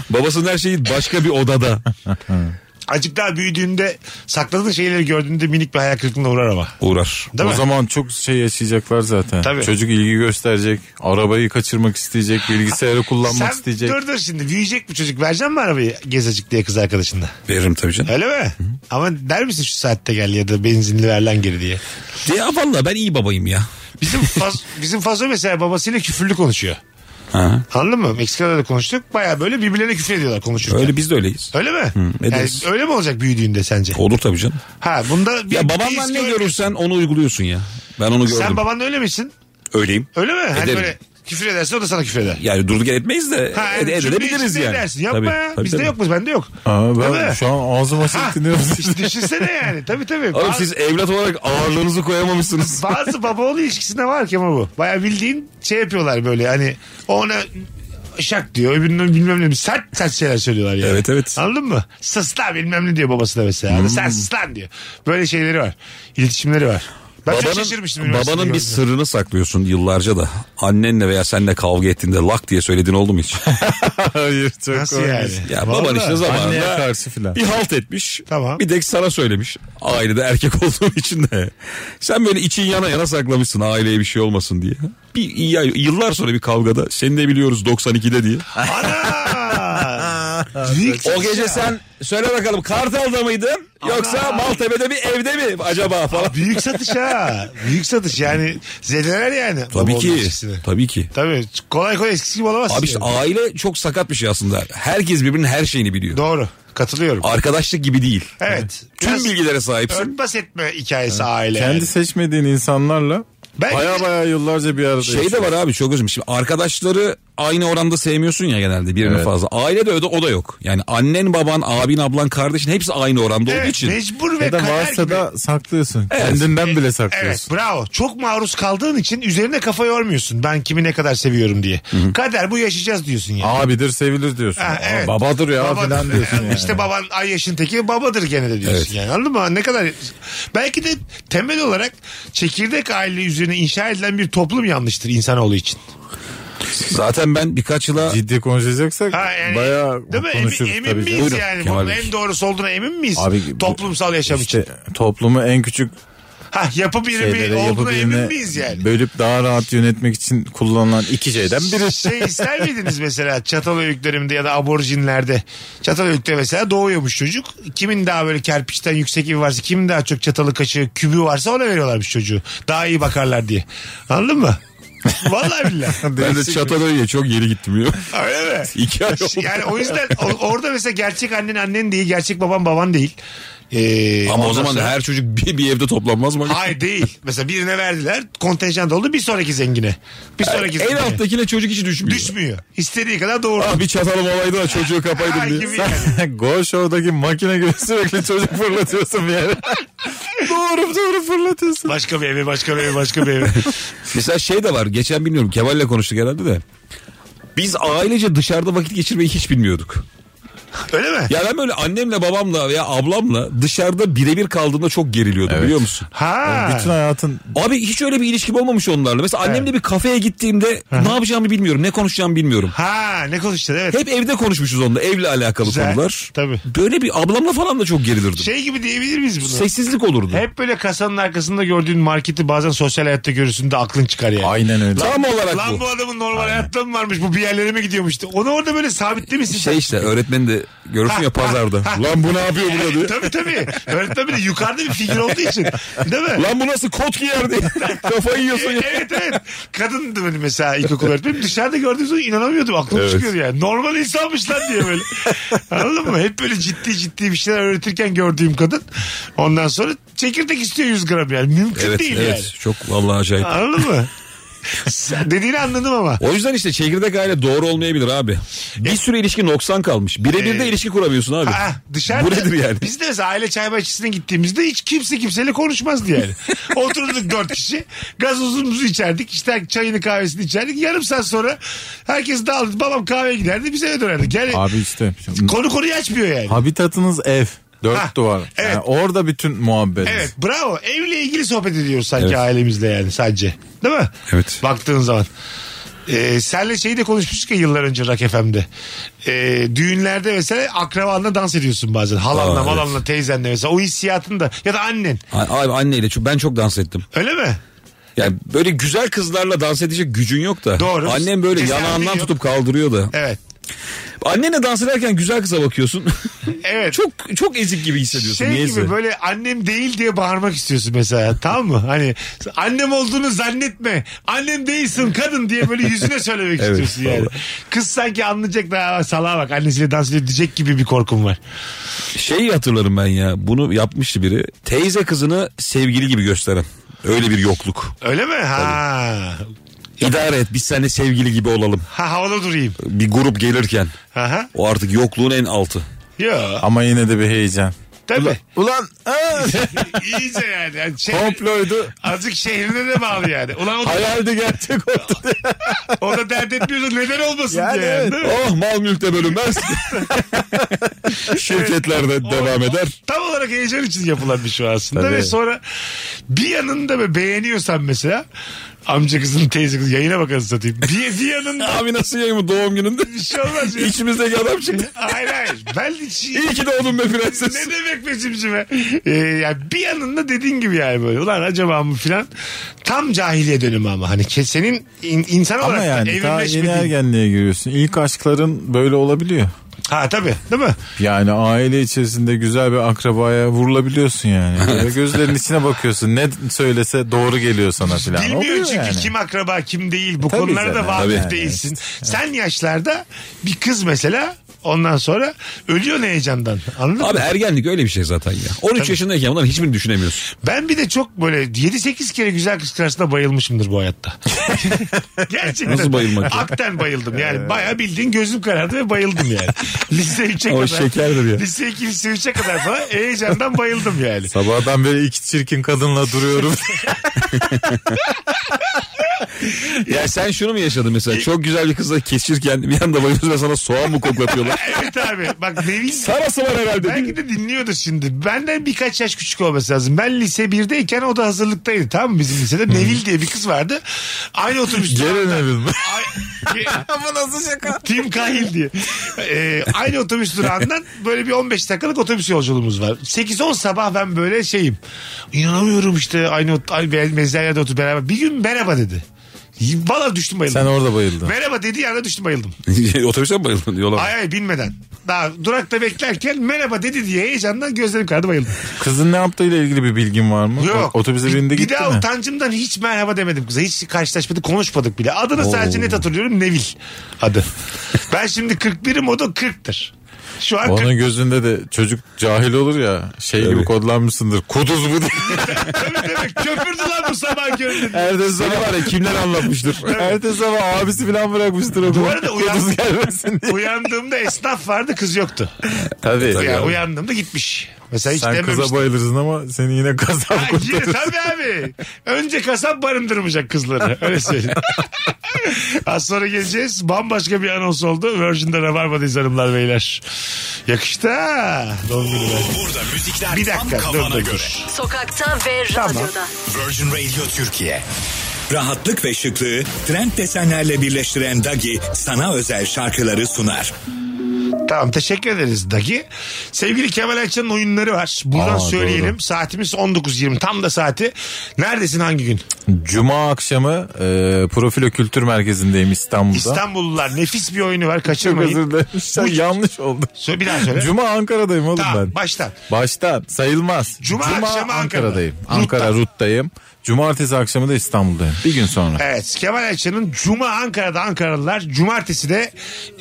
Babasının her şeyi başka bir odada. Azıcık daha büyüdüğünde sakladığın şeyleri gördüğünde minik bir hayal kırıklığına uğrar ama. Uğrar. Değil o mi? zaman çok şey yaşayacaklar zaten. Tabii. Çocuk ilgi gösterecek. Arabayı kaçırmak isteyecek. Bilgisayarı kullanmak Sen isteyecek. dur dur şimdi büyüyecek bu çocuk vereceksin mi arabayı gezacık diye kız arkadaşında? Veririm tabii canım. Öyle mi? Ama der misin şu saatte gel ya da benzinli ver lan geri diye. Ya valla ben iyi babayım ya. Bizim faz, bizim Fazo mesela babasıyla küfürlü konuşuyor. Ha. Anladın mı? Meksika'da da konuştuk. Baya böyle birbirlerine küfür ediyorlar konuşurken. Öyle, Öyle biz de öyleyiz. mi? yani ederiz. öyle mi olacak büyüdüğünde sence? Olur tabii canım. Ha bunda bir biz Ya babandan ne gör- görürsen onu uyguluyorsun ya. Ben onu gördüm. Sen babanla öyle misin? Öyleyim. Öyle mi? Hani Ederim. böyle küfür ederse o da sana küfür eder. Yani durduk yere etmeyiz de Ha, ed- cümle e, edebiliriz içinde yani. edersin. Yapma Tabii, ya. tabii, Bizde tabii. yok mu? Bende yok. Aa, Değil ben mi? şu an ağzıma sesleniyorum. İşte Düşünsene yani. Tabii tabii. Oğlum Ba- siz evlat olarak ağırlığınızı koyamamışsınız. Bazı baba oğlu ilişkisinde var ki ama bu. Baya bildiğin şey yapıyorlar böyle hani ona şak diyor öbürünün bilmem ne sert sert şeyler söylüyorlar yani. Evet, evet. Hmm. Anladın mı? Sıslan bilmem ne diyor babası da mesela. Hani Sen sıslan diyor. Böyle şeyleri var. İletişimleri var. Ben çok şaşırmıştım. babanın, üniversitede babanın bir gördüğümde. sırrını saklıyorsun yıllarca da. Annenle veya seninle kavga ettiğinde lak diye söylediğin oldu mu hiç? Hayır çok Nasıl komik. yani? ya baban Vallahi. işte Anneye zamanında karşı filan. bir halt etmiş. Tamam. Bir tek sana söylemiş. Ailede erkek olduğun için de. Sen böyle için yana yana saklamışsın aileye bir şey olmasın diye. Bir ya- yıllar sonra bir kavgada seni de biliyoruz 92'de diye. Ana! Büyük O gece sen söyle bakalım Kartal'da mıydın yoksa Maltepe'de bir evde mi acaba falan. Büyük satış ha. Büyük satış yani. Zedeler yani. baba Tabii oğlu ki. ilişkisini. Tabii ki. Tabii. Kolay kolay eskisi gibi olamazsın. Abi işte yani. aile çok sakat bir şey aslında. Herkes birbirinin her şeyini biliyor. Doğru. Katılıyorum. Arkadaşlık gibi değil. Evet. Tüm Biraz bilgilere sahipsin. Örtbas etme hikayesi aile. Kendi seçmediğin insanlarla Ben- baya baya yıllarca bir arada Şey de var abi çok özüm. Şimdi arkadaşları aynı oranda sevmiyorsun ya genelde birini Evet. fazla. Aile de öyle o da yok. Yani annen baban abin ablan kardeşin hepsi aynı oranda Evet, olduğu için. mecbur ve Ya da kader varsa gibi. da saklıyorsun. Evet. Kendinden bile Evet saklıyorsun. bravo. Çok maruz kaldığın için üzerine kafa yormuyorsun. Ben kimi ne kadar seviyorum diye. Kader bu yaşayacağız diyorsun yani. Abidir sevilir diyorsun. Ha, Aa, evet. Babadır ya Babadır. filan diyorsun yani. İşte baban ay yaşın teki babadır gene de diyorsun Evet. yani. Anladın mı? Ne kadar belki de temel olarak çekirdek aile üzerine inşa edilen bir toplum yanlıştır insanoğlu için. Zaten ben birkaç yıla Ciddi konuşacaksak Ha yani bayağı değil mi? Emin- konuşuruz emin, tabii. miyiz Buyurun. yani? Kemal Bunun Bey. en doğrusu olduğuna emin miyiz? Abi, bu- Toplumsal yaşam için. İşte toplumu en küçük Ha, yapı birimi şeylere, olduğuna yapı emin birimi miyiz yani? bölüp daha rahat yönetmek için kullanılan iki şeyden biri. şey ister miydiniz mesela çatal öyklerimde ya da aborjinlerde? Çatal öykte mesela doğuyormuş çocuk. Kimin daha böyle kerpiçten yüksek evi varsa, kimin daha çok çatalı kaşığı, kübü varsa ona veriyorlarmış çocuğu. Daha iyi bakarlar diye. Anladın mı? Vallahi billahi. Ben de Çatalhöyük'e çok geri gittim ya. Öyle mi? Şey, İki ay oldu. Yani o yüzden o- orada mesela gerçek annen annen değil, gerçek baban baban değil. Ee, Ama o ondan zaman sonra- her çocuk bir, bir evde toplanmaz mı? Hayır değil. Mesela birine verdiler, kontenjan doldu bir sonraki zengine. Bir sonraki En zengine. alttakine çocuk hiç düşmüyor. Düşmüyor. İstediği kadar doğurdu. Ah bir çatalım olaydı da çocuğu Ay, kapaydım gibi diye. Go Show'daki makine gibi sürekli çocuk fırlatıyorsun bir yere. doğru doğru fırlatıyorsun. Başka bir eve, başka bir eve, başka bir eve. Mesela şey de var. Geçen bilmiyorum. Kemal'le konuştuk herhalde de. Biz ailece dışarıda vakit geçirmeyi hiç bilmiyorduk. Öyle mi? Ya ben böyle annemle babamla veya ablamla dışarıda birebir kaldığımda çok geriliyordum biliyor musun? Ha. Bütün hayatın Abi hiç öyle bir ilişkim olmamış onlarla. Mesela annemle bir kafeye gittiğimde ne yapacağımı bilmiyorum. Ne konuşacağımı bilmiyorum. Ha ne konuştun evet. Hep evde konuşmuşuz onunla. Evle alakalı Güzel, konular. tabii. Böyle bir ablamla falan da çok gerilirdim. Şey gibi diyebilir miyiz bunu? Sessizlik olurdu. Hep böyle kasanın arkasında gördüğün marketi bazen sosyal hayatta görürsün de aklın çıkar yani. aynen öyle. Tam olarak Lan bu. bu. adamın normal hayatta mı varmış bu bir yerlere mi gidiyormuştu? Onu orada böyle sabitlemişsin. Şey işte öğretmen de görürsün ya pazarda. Lan bu ne yapıyor burada diye. tabii tabii. Öğretmen bir de yukarıda bir figür olduğu için. Değil mi? Lan bu nasıl kot giyer diye. Kafayı yiyorsun ya. evet evet. Kadındı benim mesela ilkokul öğretmenim. Dışarıda gördüğüm zaman inanamıyordum. Aklım çıkıyordu yani. Normal insanmış lan diye böyle. Anladın mı? Hep böyle ciddi ciddi bir şeyler öğretirken gördüğüm kadın. Ondan sonra çekirdek istiyor 100 gram yani. Mümkün Evet değil evet çok vallahi acayip. yani. Anladın mı? Sen- Dediğini anladım ama. O yüzden işte çekirdek aile doğru olmayabilir abi. E- Bir sürü ilişki noksan kalmış. Birebir de Ee, ilişki kuramıyorsun abi. Ah, dışarıda Bu nedir yani? biz de mesela aile çay bahçesine gittiğimizde hiç kimse kimseyle konuşmazdı yani. Oturduk dört kişi gazozumuzu içerdik işte çayını kahvesini içerdik yarım saat sonra herkes dağıldı babam kahveye giderdi biz eve dönerdik yani Abi işte. konu konuyu açmıyor yani. Habitatınız ev. Dört Ha, duvar. Yani evet. orada bütün muhabbet. Evet bravo evle ilgili sohbet ediyoruz sanki Evet. ailemizle yani sadece değil mi? Evet. Baktığın zaman. Ee, senle şeyi de konuşmuştuk ya yıllar önce Rock FM'de. Ee, düğünlerde mesela akrabanla dans ediyorsun bazen. Halanla, Aa, evet. malanla, teyzenle mesela. O hissiyatın da ya da annen. A- Abi anneyle çünkü ben çok dans ettim. Öyle mi? Yani böyle güzel kızlarla dans edecek gücün yok da. Doğru. Annem böyle Cesaretin yanağından yok. E- tutup kaldırıyor da. Evet. Annenle dans ederken güzel kıza bakıyorsun. Evet. çok çok ezik gibi hissediyorsun. şey niyeyse. gibi böyle annem değil diye bağırmak istiyorsun mesela tamam mı? Hani annem olduğunu zannetme. Annem değilsin kadın diye böyle yüzüne söylemek istiyorsun yani. Kız sanki anlayacak da salağa bak annesiyle dans ediyor diyecek gibi bir korkum var. Şeyi hatırlarım ben ya. Bunu yapmıştı biri. Teyze kızını sevgili gibi gösteren. Öyle bir yokluk. Öyle mi? Ha. İdare et biz seninle sevgili gibi olalım. Ha havada durayım. Bir grup gelirken. Aha. O artık yokluğun en altı. Yo. Ama yine de bir heyecan. Tabii. Ulan aa, İyice yani. yani şey, komploydu. azıcık şehrine de bağlı yani. Ulan o da, Hayaldi gerçek oldu. o da dert etmiyorsa neden olmasın Yani diye. Yani, evet. değil mi? Oh mal mülkte bölünmez. Şirketlerde devam eder. Tam olarak heyecan için yapılan bir şey aslında ve sonra bir yanında be beğeniyorsan mesela amca kızın teyze kızın yayına bakanı satayım. Bir, bir yanında Abi nasıl yayımı doğum gününde? bir şey olmaz. ya. İçimizdeki adam çıktı. hayır hayır. Ben hiç... İyi ki doğdun be prenses. ne demek be cimcime? Ee, yani bir yanında dediğin gibi yani böyle. Ulan acaba mı filan. Tam cahiliye dönemi ama. Hani ke- senin in- insan Ama olarak yani, yani daha yeni evrimleşmediğin. ergenliğe giriyorsun. İlk aşkların böyle olabiliyor. Ha tabii değil mi? Yani aile içerisinde güzel bir akrabaya vurulabiliyorsun yani. Böyle gözlerinin içine bakıyorsun. Ne söylese doğru geliyor sana filan. Bilmiyor Oluyor çünkü yani. kim akraba kim değil bu Tabii konulara da zaten. vakıf Tabii. değilsin. Sen yaşlarda bir kız mesela ondan sonra ölüyorsun heyecandan anladın Abi mı? ergenlik öyle bir şey zaten ya. 13 yaşındayken bunların hiçbirini düşünemiyorsun. Ben bir de çok böyle 7-8 kere güzel kız karşısında bayılmışımdır bu hayatta. Gerçekten. Nasıl bayılmak ya? Akten bayıldım yani bayağı bildiğin gözüm karardı ve bayıldım yani. Lise 3'e kadar. O şekerdir ya. Lise 2 lise 3'e kadar falan heyecandan bayıldım yani. Sabahtan beri iki çirkin kadınla duruyorum. Ya sen şunu mu yaşadın E- mesela? Çok güzel bir kızla kesişirken bir anda bayılıyorsun ve sana soğan mı koklatıyorlar? evet abi bak Nevin Sarası var herhalde. Belki de dinliyordur şimdi. Benden birkaç yaş küçük olması lazım. Ben lise 1'deyken o da hazırlıktaydı. Tamam mı bizim lisede? Nevil diye bir kız vardı. Aynı otobüs Gene Nevil mi? Ama nasıl şaka? Tim Cahill diye. Ee, aynı otobüs durağından böyle bir 15 dakikalık otobüs yolculuğumuz var. 8-10 sabah ben böyle şeyim. İnanamıyorum işte aynı, ot- aynı mezarlarda oturup beraber. Bir gün merhaba dedi. Valla düştüm bayıldım. Sen orada bayıldın. Merhaba dediği anda düştüm bayıldım. Otobüse mi bayıldın diyorlar. Ay ay binmeden. Daha durakta beklerken merhaba dedi diye heyecandan gözlerim kardı bayıldım. Kızın ne yaptığıyla ilgili bir bilgin var mı? Yok. Otobüse Bir- birinde bir gitti daha mi? utancımdan hiç merhaba demedim kıza. Hiç karşılaşmadık konuşmadık bile. Adını sadece net hatırlıyorum Nevil adı. ben şimdi 41'im o da 40'tır. Şu an 40 Onun gözünde de çocuk cahil olur ya şey gibi kodlanmışsındır. Kuduz bu diye. demek demek köpürdü lan bu sabah göründü. Ertesi sabah var ya kimler anlatmıştır. Ertesi sabah abisi falan bırakmıştır okula. Bu arada uyan- Kuduz gelmesin diye. Uyandığımda esnaf vardı kız yoktu. Tabii. Yani uyandığımda gitmiş. Mesela hiç Sen dememiştim. kıza bayılırsın ama seni yine kasap Ha, yine kurtarır. tabii abi. Önce kasap barındırmayacak kızları. Öyle söyleyeyim. Az sonra geleceğiz. Bambaşka bir anons oldu. Virgin'de Rabarba'dayız hanımlar beyler. Yakıştı ha. Doğum günü ben. Burada müzikler Bir dakika. tam Dur, kafana dur, göre. dur. Sokakta ve radyoda. Virgin Radio Türkiye. Rahatlık ve şıklığı trend desenlerle birleştiren Dagi sana özel şarkıları sunar. Tamam teşekkür ederiz Dagi. Sevgili Kemal Ayça'nın oyunları var. Buradan Aa, söyleyelim. Saatimiz 19.20. Tam da saati. Neredesin hangi gün? Cuma akşamı e, Profilo Kültür Merkezi'ndeyim İstanbul'da. İstanbullular nefis bir oyunu var. Çok Kaçırmayın. özür dilerim. Sen yanlış oldu. Sö- bir daha söyle. Cuma Ankara'dayım oğlum Tamam, ben. baştan. Baştan sayılmaz. Cuma akşamı Ankara'dayım. Ankara'da. Ankara Rut'tayım. Cumartesi akşamı da İstanbul'dayım. Bir gün sonra. Evet Kemal Ayça'nın Cuma Ankara'da Ankaralılar Cumartesi de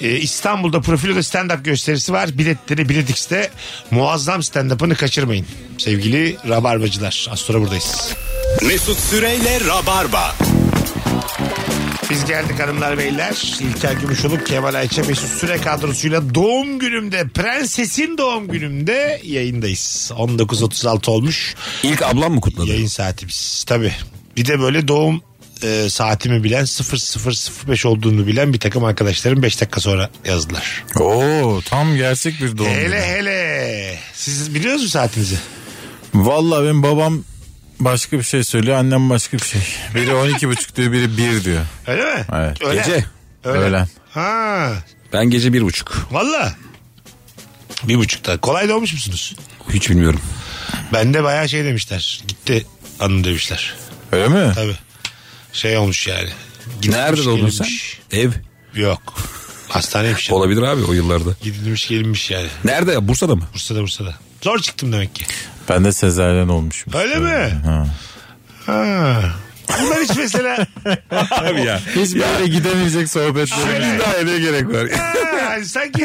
e, İstanbul'da profiloda stand-up gösterisi var. Biletleri Biletix'te muazzam stand-up'ını kaçırmayın. Sevgili Rabarbacılar az sonra buradayız. Mesut Süreyle Rabarba. Biz geldik hanımlar beyler. İlker Gümüşoluk, Kemal Ayça, Mesut Süre kadrosuyla doğum günümde, prensesin doğum günümde yayındayız. 19.36 olmuş. İlk ablam mı kutladı? Yayın saatimiz. Tabii. Bir de böyle doğum e, saatimi bilen 0005 olduğunu bilen bir takım arkadaşlarım 5 dakika sonra yazdılar. Oo tam gerçek bir doğum günü. Hele hele. Siz biliyor musunuz saatinizi? Vallahi benim babam başka bir şey söylüyor. Annem başka bir şey. Biri 12 buçuk diyor biri 1 diyor. Öyle mi? Evet. Öyle. Gece. Öyle. Öğlen. Ha. Ben gece bir buçuk. Valla. Bir buçukta. Kolay doğmuş musunuz? Hiç bilmiyorum. Ben de bayağı şey demişler. Gitti anı demişler. Öyle mi? Tabii. Şey olmuş yani. Gidilmiş, Nerede doğdun sen? gelinmiş. Ev. Yok. Hastaneymiş. yani. Olabilir abi o yıllarda. Gidilmiş gelinmiş yani. Nerede ya? Bursa'da mı? Bursa'da Bursa'da. Zor çıktım demek ki. Ben de sezaryen olmuşum. Öyle mi? Ha. Ha. Bunlar hiç mesela Abi ya. Hiç böyle gidemeyecek sohbetlerimiz. daha ne gerek var? Ha, hani sanki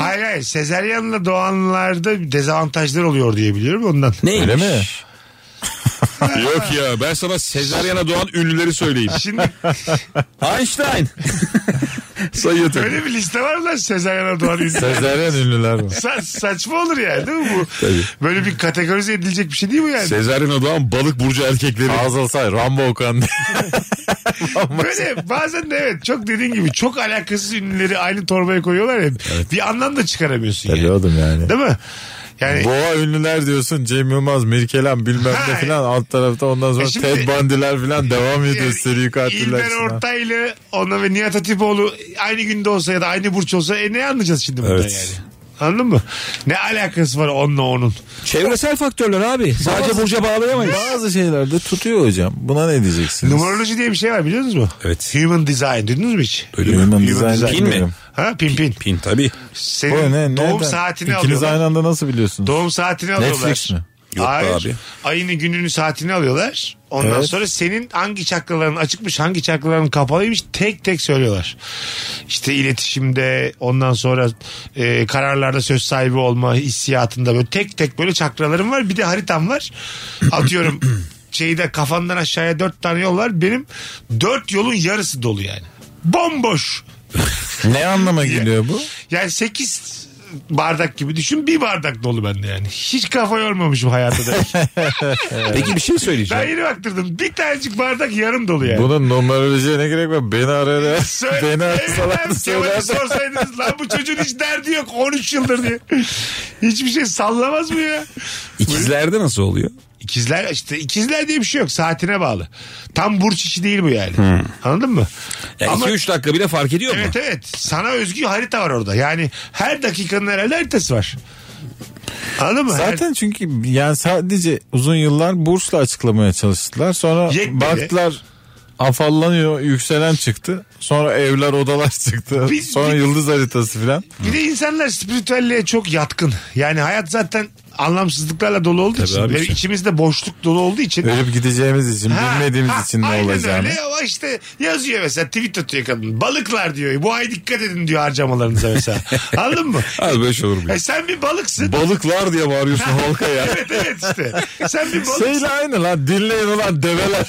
hayır hayır sezeryanla doğanlarda bir dezavantajlar oluyor diye biliyorum ondan. Neymiş? Öyle mi? Yok ya ben sana Sezaryana doğan ünlüleri söyleyeyim. Şimdi Einstein. Sayıyor tabii. öyle bir liste var lan sezeryanla doğan ünlü. Sezaryen ünlüler var. Sa- saçma olur yani değil mi bu? Böyle bir kategorize edilecek bir şey değil mi yani? Sezaryana doğan balık burcu erkekleri. Fazıl Say, Rambo Okan. Böyle bazen de evet çok dediğin gibi çok alakasız ünlüleri aynı torbaya koyuyorlar ya. Bir anlam da çıkaramıyorsun yani. Biliyordum yani. Değil mi? Yani Boğa ünlüler diyorsun Cem Yılmaz, Mirkelam bilmem Ha, ne filan alt tarafta ondan sonra e şimdi- Ted Bundy'ler filan devam ediyor seri katiller. İlber filan. Ortaylı ona ve Nihat Hatipoğlu aynı günde olsa ya da aynı burç olsa e ne anlayacağız şimdi bundan Evet. yani? Anladın mı? Ne alakası var onunla onun? Çevresel faktörler abi. Sadece burca bağlayamayız. Bazı şeylerde tutuyor hocam. Buna ne diyeceksiniz? Numeroloji diye bir şey var biliyorsunuz mu? Evet. Human design duydunuz mu hiç? Human Human design design. Pin mi? bilmiyorum. Ha pin pin. Pin tabii. Senin O ne? şey, doğum Nereden? saatini İkiniz alıyorlar. aynı anda nasıl biliyorsunuz? Doğum saatini alıyorlar. Netflix mi? Yok be Hayır. abi. Ayını gününü saatini alıyorlar. Ondan Evet. sonra senin hangi çakraların açıkmış hangi çakraların kapalıymış tek tek söylüyorlar. İşte iletişimde ondan sonra e, kararlarda söz sahibi olma hissiyatında böyle tek tek böyle çakralarım var. Bir de haritam var. Atıyorum şeyde kafandan aşağıya dört tane yol var. Benim dört yolun yarısı dolu yani. Bomboş. Ne anlama geliyor bu? Yani 8 bardak gibi düşün. Bir bardak dolu bende yani. Hiç kafa yormamışım hayata da. Peki bir şey söyleyeceğim. ben yeni baktırdım. Bir tanecik bardak yarım dolu yani. Bunun numarolojiye ne gerek var? Beni arar. Söyle, Beni Eminem arsalar Kemal'i söyler. sorsaydınız lan bu çocuğun hiç derdi yok 13 yıldır diye. Hiçbir şey sallamaz mı ya? İkizlerde nasıl oluyor? İkizler işte ikizler diye bir şey yok saatine bağlı. Tam burç işi değil bu yani. Hmm. Anladın mı? Ya Ama- 2-3 dakika bile fark ediyor mu? Evet evet sana özgü harita var orada. Yani her dakikanın herhalde haritası var. Anladın mı? Her- Zaten çünkü yani sadece uzun yıllar bursla açıklamaya çalıştılar. Sonra Yekmeli. baktılar afallanıyor yükselen çıktı. Sonra evler odalar çıktı. Biz- Sonra yıldız haritası filan. Bir de insanlar spiritüelliğe çok yatkın. Yani hayat zaten anlamsızlıklarla dolu olduğu için. abi Ve işte. içimizde boşluk dolu olduğu için. Ölüp gideceğimiz için Ha, bilmediğimiz ha, için ne aynen olacağını. Öyle ama işte yazıyor mesela tweet atıyor kadın. Balıklar diyor. Bu ay dikkat edin diyor harcamalarınıza mesela. Anladın mı? Az böyle şey olur mu? ya? E sen bir balıksın. Balıklar diye bağırıyorsun halka ya. evet evet işte. Sen bir balıksın. Şeyle aynı lan dinleyin ulan develer.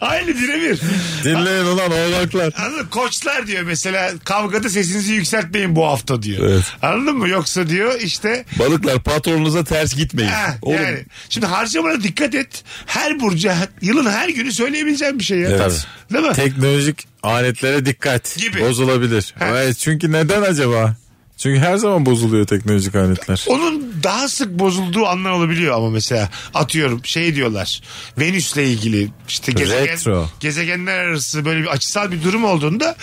Aynı birebir. dinleyin ulan oğlaklar. Anladın mı? Koçlar diyor mesela kavgada sesinizi yükseltmeyin bu hafta diyor. Anladın mı? Yoksa diyor işte Balıklar patronunuza ters gitmeyin. Ha, Oğlum yani şimdi harcamalara dikkat et. Her burcu yılın her günü söyleyebileceğim bir şey ya. Evet. Değil mi? Teknolojik aletlere dikkat. Gibi. Bozulabilir. Ha. Evet, çünkü neden acaba? Çünkü her zaman bozuluyor teknolojik aletler. Onun daha sık bozulduğu anlar olabiliyor ama mesela atıyorum şey diyorlar. Venüs'le ilgili işte gezegen, Retro. gezegenler arası böyle bir açısal bir durum olduğunda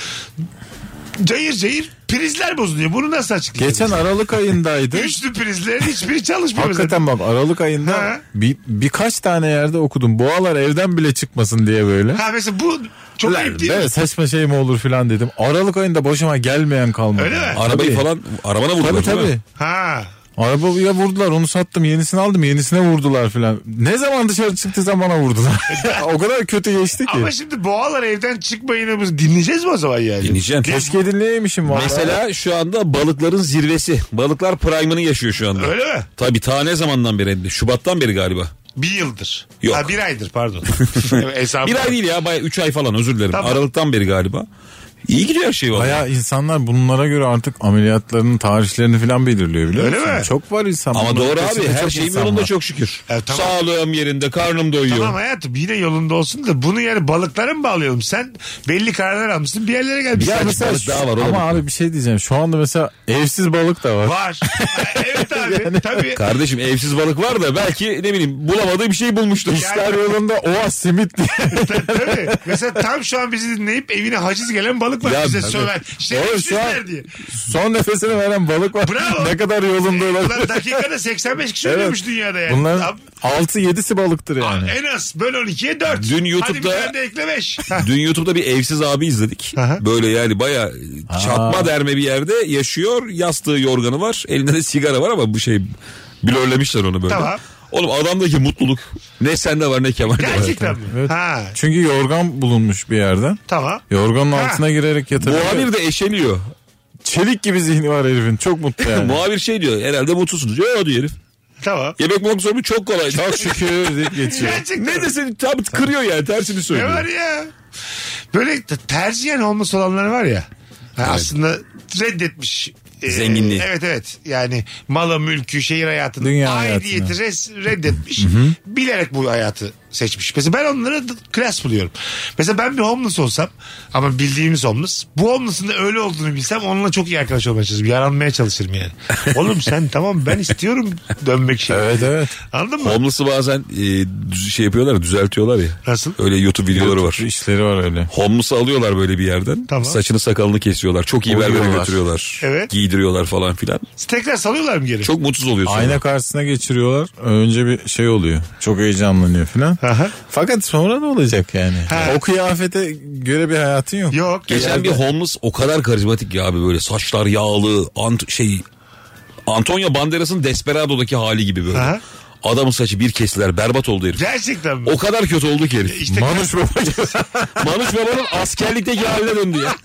cayır cayır prizler bozuluyor. Bunu nasıl açıklayacaksın? Geçen Aralık ayındaydı. Üçlü prizlerin hiçbiri çalışmıyor. Hakikaten bak Aralık Ha. ayında bir, birkaç tane yerde okudum. Boğalar evden bile çıkmasın diye böyle. mesela. Ha mesela bu çok Ulan ayıp değil mi? böyle saçma şey mi olur filan dedim. Aralık ayında başıma gelmeyen kalmadı. Öyle mi? Arabayı Tabii. falan arabana vurdular Tabii değil mi? tabii. Ha. Arabaya vurdular onu sattım yenisini aldım yenisine vurdular filan. Ne zaman dışarı çıktıysam bana vurdular. o kadar kötü geçti ki. E, Ama şimdi boğalar evden çıkmayınımızı dinleyeceğiz mi o zaman yani? Dinleyeceğim. Keşke dinleyeymişim valla. Mesela şu anda balıkların zirvesi. Balıklar prime'ını yaşıyor şu anda. Öyle mi? Tabii ta ne zamandan beri? Şubattan beri galiba. Bir yıldır. Yok. Ha, bir aydır pardon. Hesabı- Bir ay değil ya baya 3 ay falan özür dilerim. Tamam. Aralıktan beri galiba. İyi gidiyor her şey valla. Baya insanlar bunlara göre artık ameliyatlarının tarihlerini filan belirliyor biliyor Öyle musun? mi? Çok var insan. Ama Bunların doğru abi peşinde her çok şeyim insan yolunda var. çok şükür. Evet, E, tamam. Sağlığım yerinde karnım doyuyor. Tamam hayatım yine yolunda olsun da bunu yani balıklara mı bağlayalım? Sen belli kararlar almışsın bir yerlere gelmişsin. Ya mesela balık şu- daha var, oğlum. ama abi bir şey diyeceğim. Şu anda mesela evsiz balık da var. Var. evet abi tabii. Kardeşim evsiz balık var da belki ne bileyim bulamadığı bir şey bulmuştur. İşler yolunda oha simit diye. tabii, tabii. Mesela tam şu an bizi dinleyip evine haciz gelen balık var Ya bize tabii. söver. İşte Oğlum şu an- sizler diye. Son nefesini veren balık var. Bravo. ne kadar yolunda Ulan olabilir. dakikada 85 kişi Evet. ölüyormuş dünyada yani. Bunların Ab- 6-7'si balıktır ab- yani. En az böl 12'ye 4. Dün YouTube'da- Hadi bir tane de ekle 5. Dün YouTube'da bir evsiz abi izledik. Aha. Böyle yani baya çatma derme bir yerde yaşıyor. Yastığı yorganı var. Elinde de sigara var ama bu şey blörlemişler onu böyle. Tamam. Oğlum adamdaki mutluluk ne sende var ne Kemal'de var. Gerçekten mi? Evet. Ha Çünkü yorgan bulunmuş bir yerden. tamam. Yorganın Ha. altına girerek yatabiliyor. Muhabir de eşeliyor. Çelik gibi zihni var herifin. Çok mutlu yani. Muhabir şey diyor herhalde mutlusunuz. Yo diyor herif. Tamam. Yemek bulmak sorunu çok kolay. Çok şükür deyip geçiyor. Gerçekten. ne desin tam kırıyor yani tersini Ne söylüyor. var ya? Böyle t- tercihen olması olanlar var ya. Ha, Aslında reddetmiş. Ee, Zenginliği. Evet evet. Yani mala, mülkü, şehir hayatını, Dünya aidiyeti hayatını. res- reddetmiş. Bilerek bu hayatı seçmiş. Mesela ben onları d- klas buluyorum. Mesela ben bir homeless olsam ama bildiğimiz homeless. Bu homeless'ın da öyle olduğunu bilsem onunla çok iyi arkadaş olmaya çalışırım. Yaranmaya çalışırım yani. Oğlum sen tamam ben istiyorum dönmek şey. Evet evet. Anladın mı? Homeless'ı bazen e, düz- şey yapıyorlar düzeltiyorlar ya. Nasıl? Öyle YouTube videoları var. Şu işleri var öyle. Homeless'ı alıyorlar böyle bir yerden. Tamam. Saçını sakalını kesiyorlar. Çok iyi berbere Oluyorlar. götürüyorlar. Evet. Giydiriyorlar falan filan. Tekrar salıyorlar mı geri? Çok mutsuz oluyorsun. Ayna karşısına geçiriyorlar. Önce bir şey oluyor. Çok heyecanlanıyor falan. Aha. Fakat sonra ne olacak yani? Ha. O kıyafete göre bir hayatın yok. Yok. Geçen bir homeless o kadar karizmatik ya abi böyle saçlar yağlı ant şey Antonio Banderas'ın Desperado'daki hali gibi böyle. Aha. Adamın saçı bir kestiler berbat oldu herif. Gerçekten mi? O kadar kötü oldu ki herif. İşte- Manuş Baba Manuş Baba'nın askerlikteki haline döndü ya.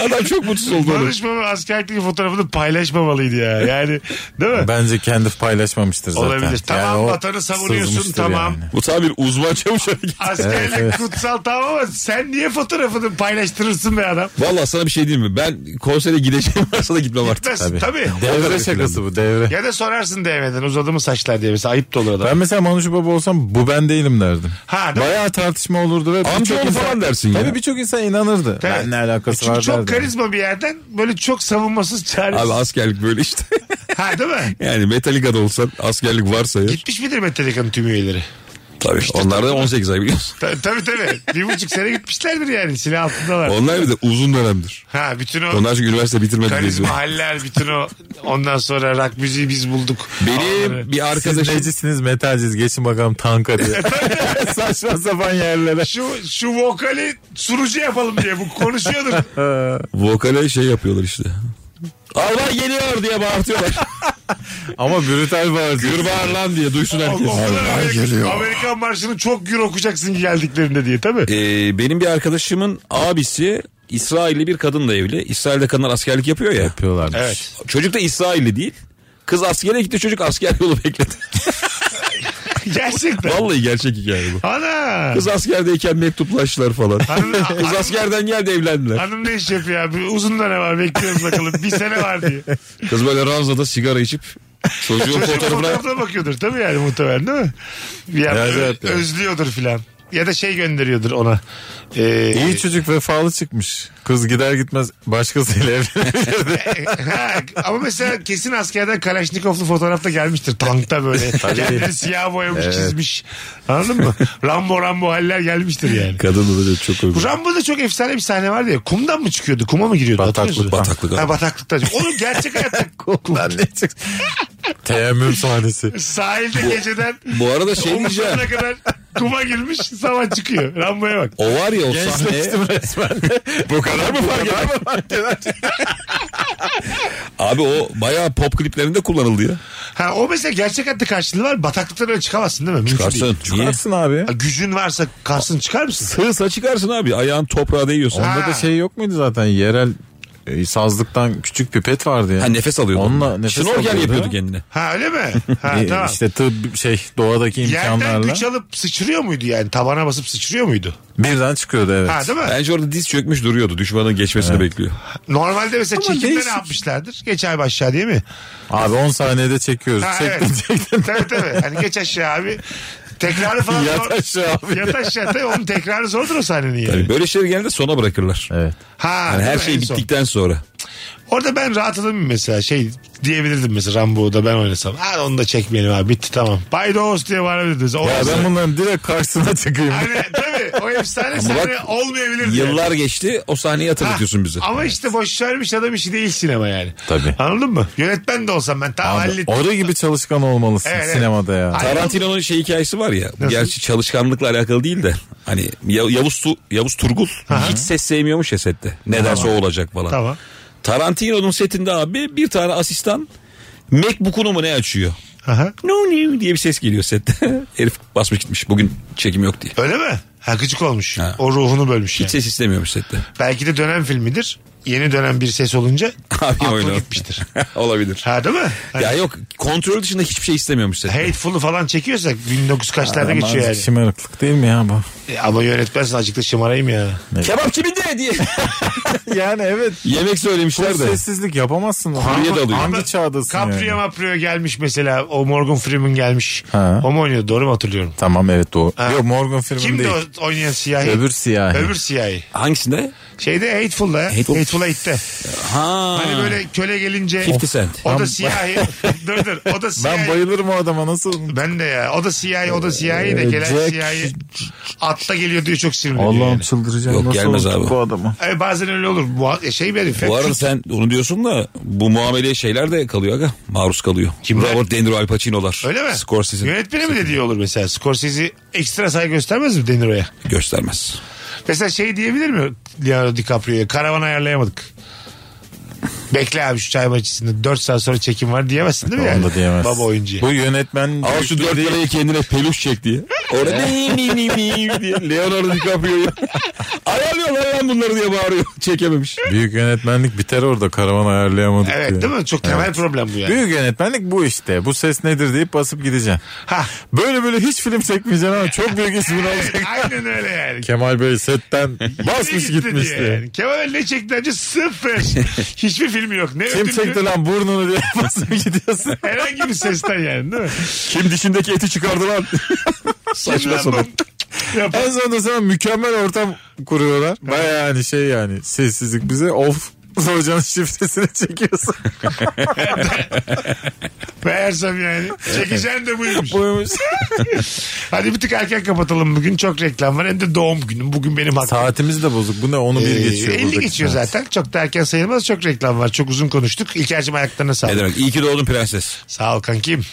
Adam çok mutsuz oldu. oğlum. Barışmama askerlikteki fotoğrafını paylaşmamalıydı ya. Yani değil mi? Bence kendi paylaşmamıştır zaten. Olabilir. Tamam, o vatanı savunuyorsun, sızmıştır tamam. Bu tabi bir uzman çavuş hareketi. Askerlik Evet, evet. kutsal tamam ama sen niye fotoğrafını paylaştırırsın be adam? Valla sana bir şey diyeyim mi? Ben konsere gideceğim varsa da gitmem artık. Gitmez tabii. Devre şakası bu devre. Ya da sorarsın DM'den uzadı mı saçlar diye mesela ayıp da olur adam. Ben mesela Manuş Baba olsam bu ben değilim derdim. Ha, değil mi? Bayağı tartışma olurdu ve Amca birçok oğlu insan- falan dersin ya. Tabii birçok insan inanırdı. Evet. Ben ne alakası E, Çünkü var çok derdi. karizma bir yerden böyle çok savunmasız çaresiz. Abi askerlik böyle işte. ha değil mi? yani Metallica'da olsan askerlik varsa ya. Gitmiş midir Metallica'nın tüm üyeleri? Tabii onlar da 18 ay biliyorsun. Ta- tabii tabii. bir buçuk sene gitmişlerdir yani silah altındalar. Onlar bir de uzun dönemdir. Ha bütün o Onlar çünkü üniversite bitirmedi diye. karizma haller bütün o ondan sonra rock müziği biz bulduk. Onları- Benim bir Siz arkadaşım necisiniz metalciz geçin bakalım tanka diye. Saçma sapan yerlere. Şu, şu vokali sunucu yapalım diye bu konuşuyordur. vokale şey yapıyorlar işte. Albay geliyor diye bağırtıyorlar. Ama brutal var. Gür bağır lan diye duysun herkes. O kadar Amerika, Amerikan marşını çok gür okuyacaksın ki geldiklerinde diye tabii. Ee, benim bir arkadaşımın abisi İsrailli bir kadınla evli. İsrail'de kadınlar askerlik yapıyor ya. Yapıyorlarmış. Evet. Çocuk da İsrailli değil. Kız askere gitti çocuk asker yolu bekledi. Gerçekten. Vallahi gerçek hikaye bu. Ana. Kız askerdeyken mektuplaştılar falan. Hanım- Kız askerden geldi evlendiler. Hanım ne iş yapıyor abi? Uzun dönem var bekliyoruz bakalım. Bir sene var diye. Kız böyle ranzada sigara içip çocuğun Çocuk fotoğrafına fotoğrafına bakıyordur tabii yani muhtemelen değil mi? Ya, Evet, evet, evet. Özlüyordur filan. Ya da şey gönderiyordur ona. Ee, İyi çocuk vefalı çıkmış. Kız gider gitmez başkasıyla evlenir. ha, ama mesela kesin askerden Kalaşnikovlu fotoğrafta gelmiştir. Tankta böyle. Kendini siyah boyamış çizmiş. Anladın mı? Rambo Rambo haller gelmiştir yani. Kadın da çok Bu uygun. Rambo'da çok efsane bir sahne vardı ya. Kumdan mı çıkıyordu? Kuma mı giriyordu? Bataklık, Hatırlıyor musun? bataklık Ha, abi. bataklıkta. Onu gerçek hayatta Teyemmüm sahnesi. sahilde geceden Bu arada şey diyeceğim. omuzlarına kadar kuma girmiş sabah çıkıyor. Rambo'ya bak. O var ya o sahne. resmen. Bu kadar mı fark Abi o bayağı pop kliplerinde kullanıldı ya. Ha, o mesela gerçek hayatta karşılığı var. Bataklıktan öyle çıkamazsın değil mi? Mümkün değil. Çıkarsın. Niye? Çıkarsın abi. Ha, gücün varsa kalsın çıkar mısın? Sığsa çıkarsın abi. Ayağın toprağa değiyorsun. Ha. Onda da şey yok muydu zaten yerel e, sazlıktan küçük pipet vardı ya. Ha nefes alıyordun. Onunla nefes Şnorkel alıyordu. yapıyordu kendine. Ha öyle mi? Ha E, tamam. İşte tıp şey doğadaki Yerden imkanlarla güç alıp sıçrıyor muydu yani? Tabana basıp sıçrıyor muydu? birden çıkıyordu evet. Ha değil mi? Bence orada diz çökmüş duruyordu. Düşmanın geçmesini bekliyor. Normalde mesela Ama çekimde ne değişik. yapmışlardır? Geç abi aşağı diye mi? Abi 10 saniyede çekiyoruz. Ha, Çektim evet. çektim. tabii tabii. Hani geç aşağı abi. Tekrarı falan Yat aşağı abi. Yat aşağı tabii. Onun tekrarı zordur o sahnenin yani. Yani Hani böyle şeyleri genelde sona bırakırlar. Evet. Ha, Yani değil her mi? şey En son. bittikten sonra. Orada ben rahatladım mesela şey diyebilirdim mesela Rambo'da ben oynasam. Ha onu da çekmeyelim abi bitti tamam. Bay Doğuz diye bağırabilirdiniz. O Ya efsane- ben bunların direkt karşısına çıkayım. Hani tabii o efsane bak, sahne olmayabilirdi. yani. Yıllar geçti o sahneyi hatırlatıyorsun bize. Ama işte boş vermiş adam işi değil sinema yani. Tabii. Anladın mı? Yönetmen de olsam ben tamam Abi, hallettim. orada gibi çalışkan olmalısın Evet, evet. sinemada ya. Ay- Tarantino'nun şey hikayesi var ya. bu Gerçi çalışkanlıkla alakalı değil de. Hani Ya- Yavuz, tu, Yavuz Turgul hiç ses sevmiyormuş ya sette. Nedense o olacak falan. Tamam. Tarantino'nun setinde abi bir tane asistan Macbook'unu mu ne açıyor? Aha. No no diye bir ses geliyor sette. Herif basmış gitmiş bugün çekim yok diye. Öyle mi? Ha gıcık olmuş. Ha. O ruhunu bölmüş yani. Hiç ses istemiyormuş sette. Belki de dönem filmidir. Yeni dönem bir ses olunca Abi aklı oynar. gitmiştir. Olabilir. Ha değil mi? Hani Ya yok kontrol dışında hiçbir şey istemiyormuş sette. Hateful'u falan çekiyorsak 1900 kaçlarda Ama geçiyor yani. azıcık Şımarıklık değil mi ya bu? E, ama yönetmensin acıklı şımarayım ya. Kebap kiminde diye. yani evet. Yemek söylemişler Bu de. sessizlik yapamazsın. Kurye de alıyor. Hangi çağdasın Caprio yani? Maprio gelmiş mesela. O Morgan Freeman gelmiş. Ha. O mu oynuyordu? Doğru mu hatırlıyorum? Tamam evet doğru. Ha. Yok Morgan Freeman Kimdi değil. o oynayan siyahi? Öbür siyahi. Öbür siyahi. Hangisinde? Şeyde Hateful'da. ya. Hateful. Hateful Eight'te. Ha. Hani böyle köle gelince. 50 Cent. O da Ben- siyahi. dur dur. O da siyahi. Ben Ben bayılırım o adama nasıl? de ya. O da siyahi, o da siyahi de Ee, gelen Jack- siyahi atla geliyor diyor çok sinirleniyor. Allah'ım yani. çıldıracağım. Yok, nasıl gelmez unuttuk abi. bu adamı? Ay, bazen öyle olur. Bu, şey bir herif. ya. Bu arada sen onu diyorsun da bu muameleye şeyler de kalıyor aga. Maruz kalıyor. Kimler? Robert De Niro Al Pacino'lar. Öyle mi? Scorsese Yönetmene mi dediği olur mesela? Scorsese ekstra saygı göstermez mi Deniro'ya? göstermez. Mesela şey diyebilir mi Leonardo DiCaprio'ya? Karavan ayarlayamadık. Bekle abi şu çay bahçesinde 4 saat sonra çekim var diyemezsin değil mi yani? Onu da diyemez. Baba oyuncuya. Bu yönetmen Al şu dört lirayı kendine peluş çek diye. Orada miyim miyim miyim diye Leonardo DiCaprio'yu. Ayarlıyorlar lan bunları diye bağırıyor. Çekememiş. büyük yönetmenlik biter orada karavan ayarlayamadık diye. Evet değil mi? Çok temel problem bu yani. Büyük yönetmenlik bu işte. Bu ses nedir deyip basıp gideceksin. Ha. Böyle böyle hiç film çekmeyeceksin ama çok büyük ismin olacak. Aynen öyle yani. Kemal Bey setten basmış Gitti diye gitmişti. yani. Kemal ne çekti önce sıfır. Hiçbir filmi yok. Ne Kim ödüllü, çekti lan burnunu diye basıp gidiyorsun. Herhangi bir sesten yani değil mi? Kim dişindeki eti çıkardı lan? Saçma Lan bu- sapan. Yap- en sonunda sana mükemmel ortam kuruyorlar. Baya yani şey yani sessizlik bize of hocanın şifresini çekiyorsun. Meğersem yani. Çekeceğim de buymuş. Buymuş. Hadi bir tık erken kapatalım bugün. Çok reklam var. Hem de doğum günüm. Bugün benim hakkım. Saatimiz de bozuk. Bu ne onu bir geçiyor. Ee, 50 buradaki geçiyor saat. zaten. Çok da erken sayılmaz. Çok reklam var. Çok uzun konuştuk. İlker'cim ayaklarına sağlık. Ne demek? İyi ki doğdun prenses. Sağ ol kankim. İyi ki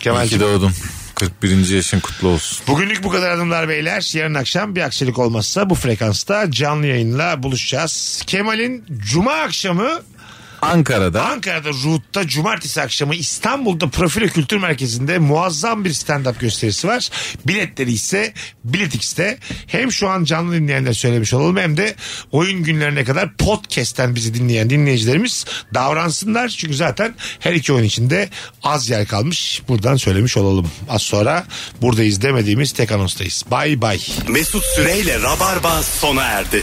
Kemal'cim. doğdun. 41. yaşın kutlu olsun. Bugünlük bu kadar hanımlar beyler. Yarın akşam bir aksilik olmazsa bu frekansta canlı yayınla buluşacağız. Kemal'in cuma akşamı Ankara'da Ankara'da Ruhut'ta cumartesi akşamı İstanbul'da Profilo Kültür Merkezi'nde muazzam bir stand-up gösterisi var. Biletleri ise Biletix'te. Hem şu an canlı dinleyenler söylemiş olalım hem de oyun günlerine kadar podcast'ten bizi dinleyen dinleyicilerimiz davransınlar. Çünkü zaten her iki oyun içinde az yer kalmış. Buradan söylemiş olalım. Az sonra buradayız demediğimiz tek anonstayız. Bay bay. Mesut Süreyle Rabarba sona erdi.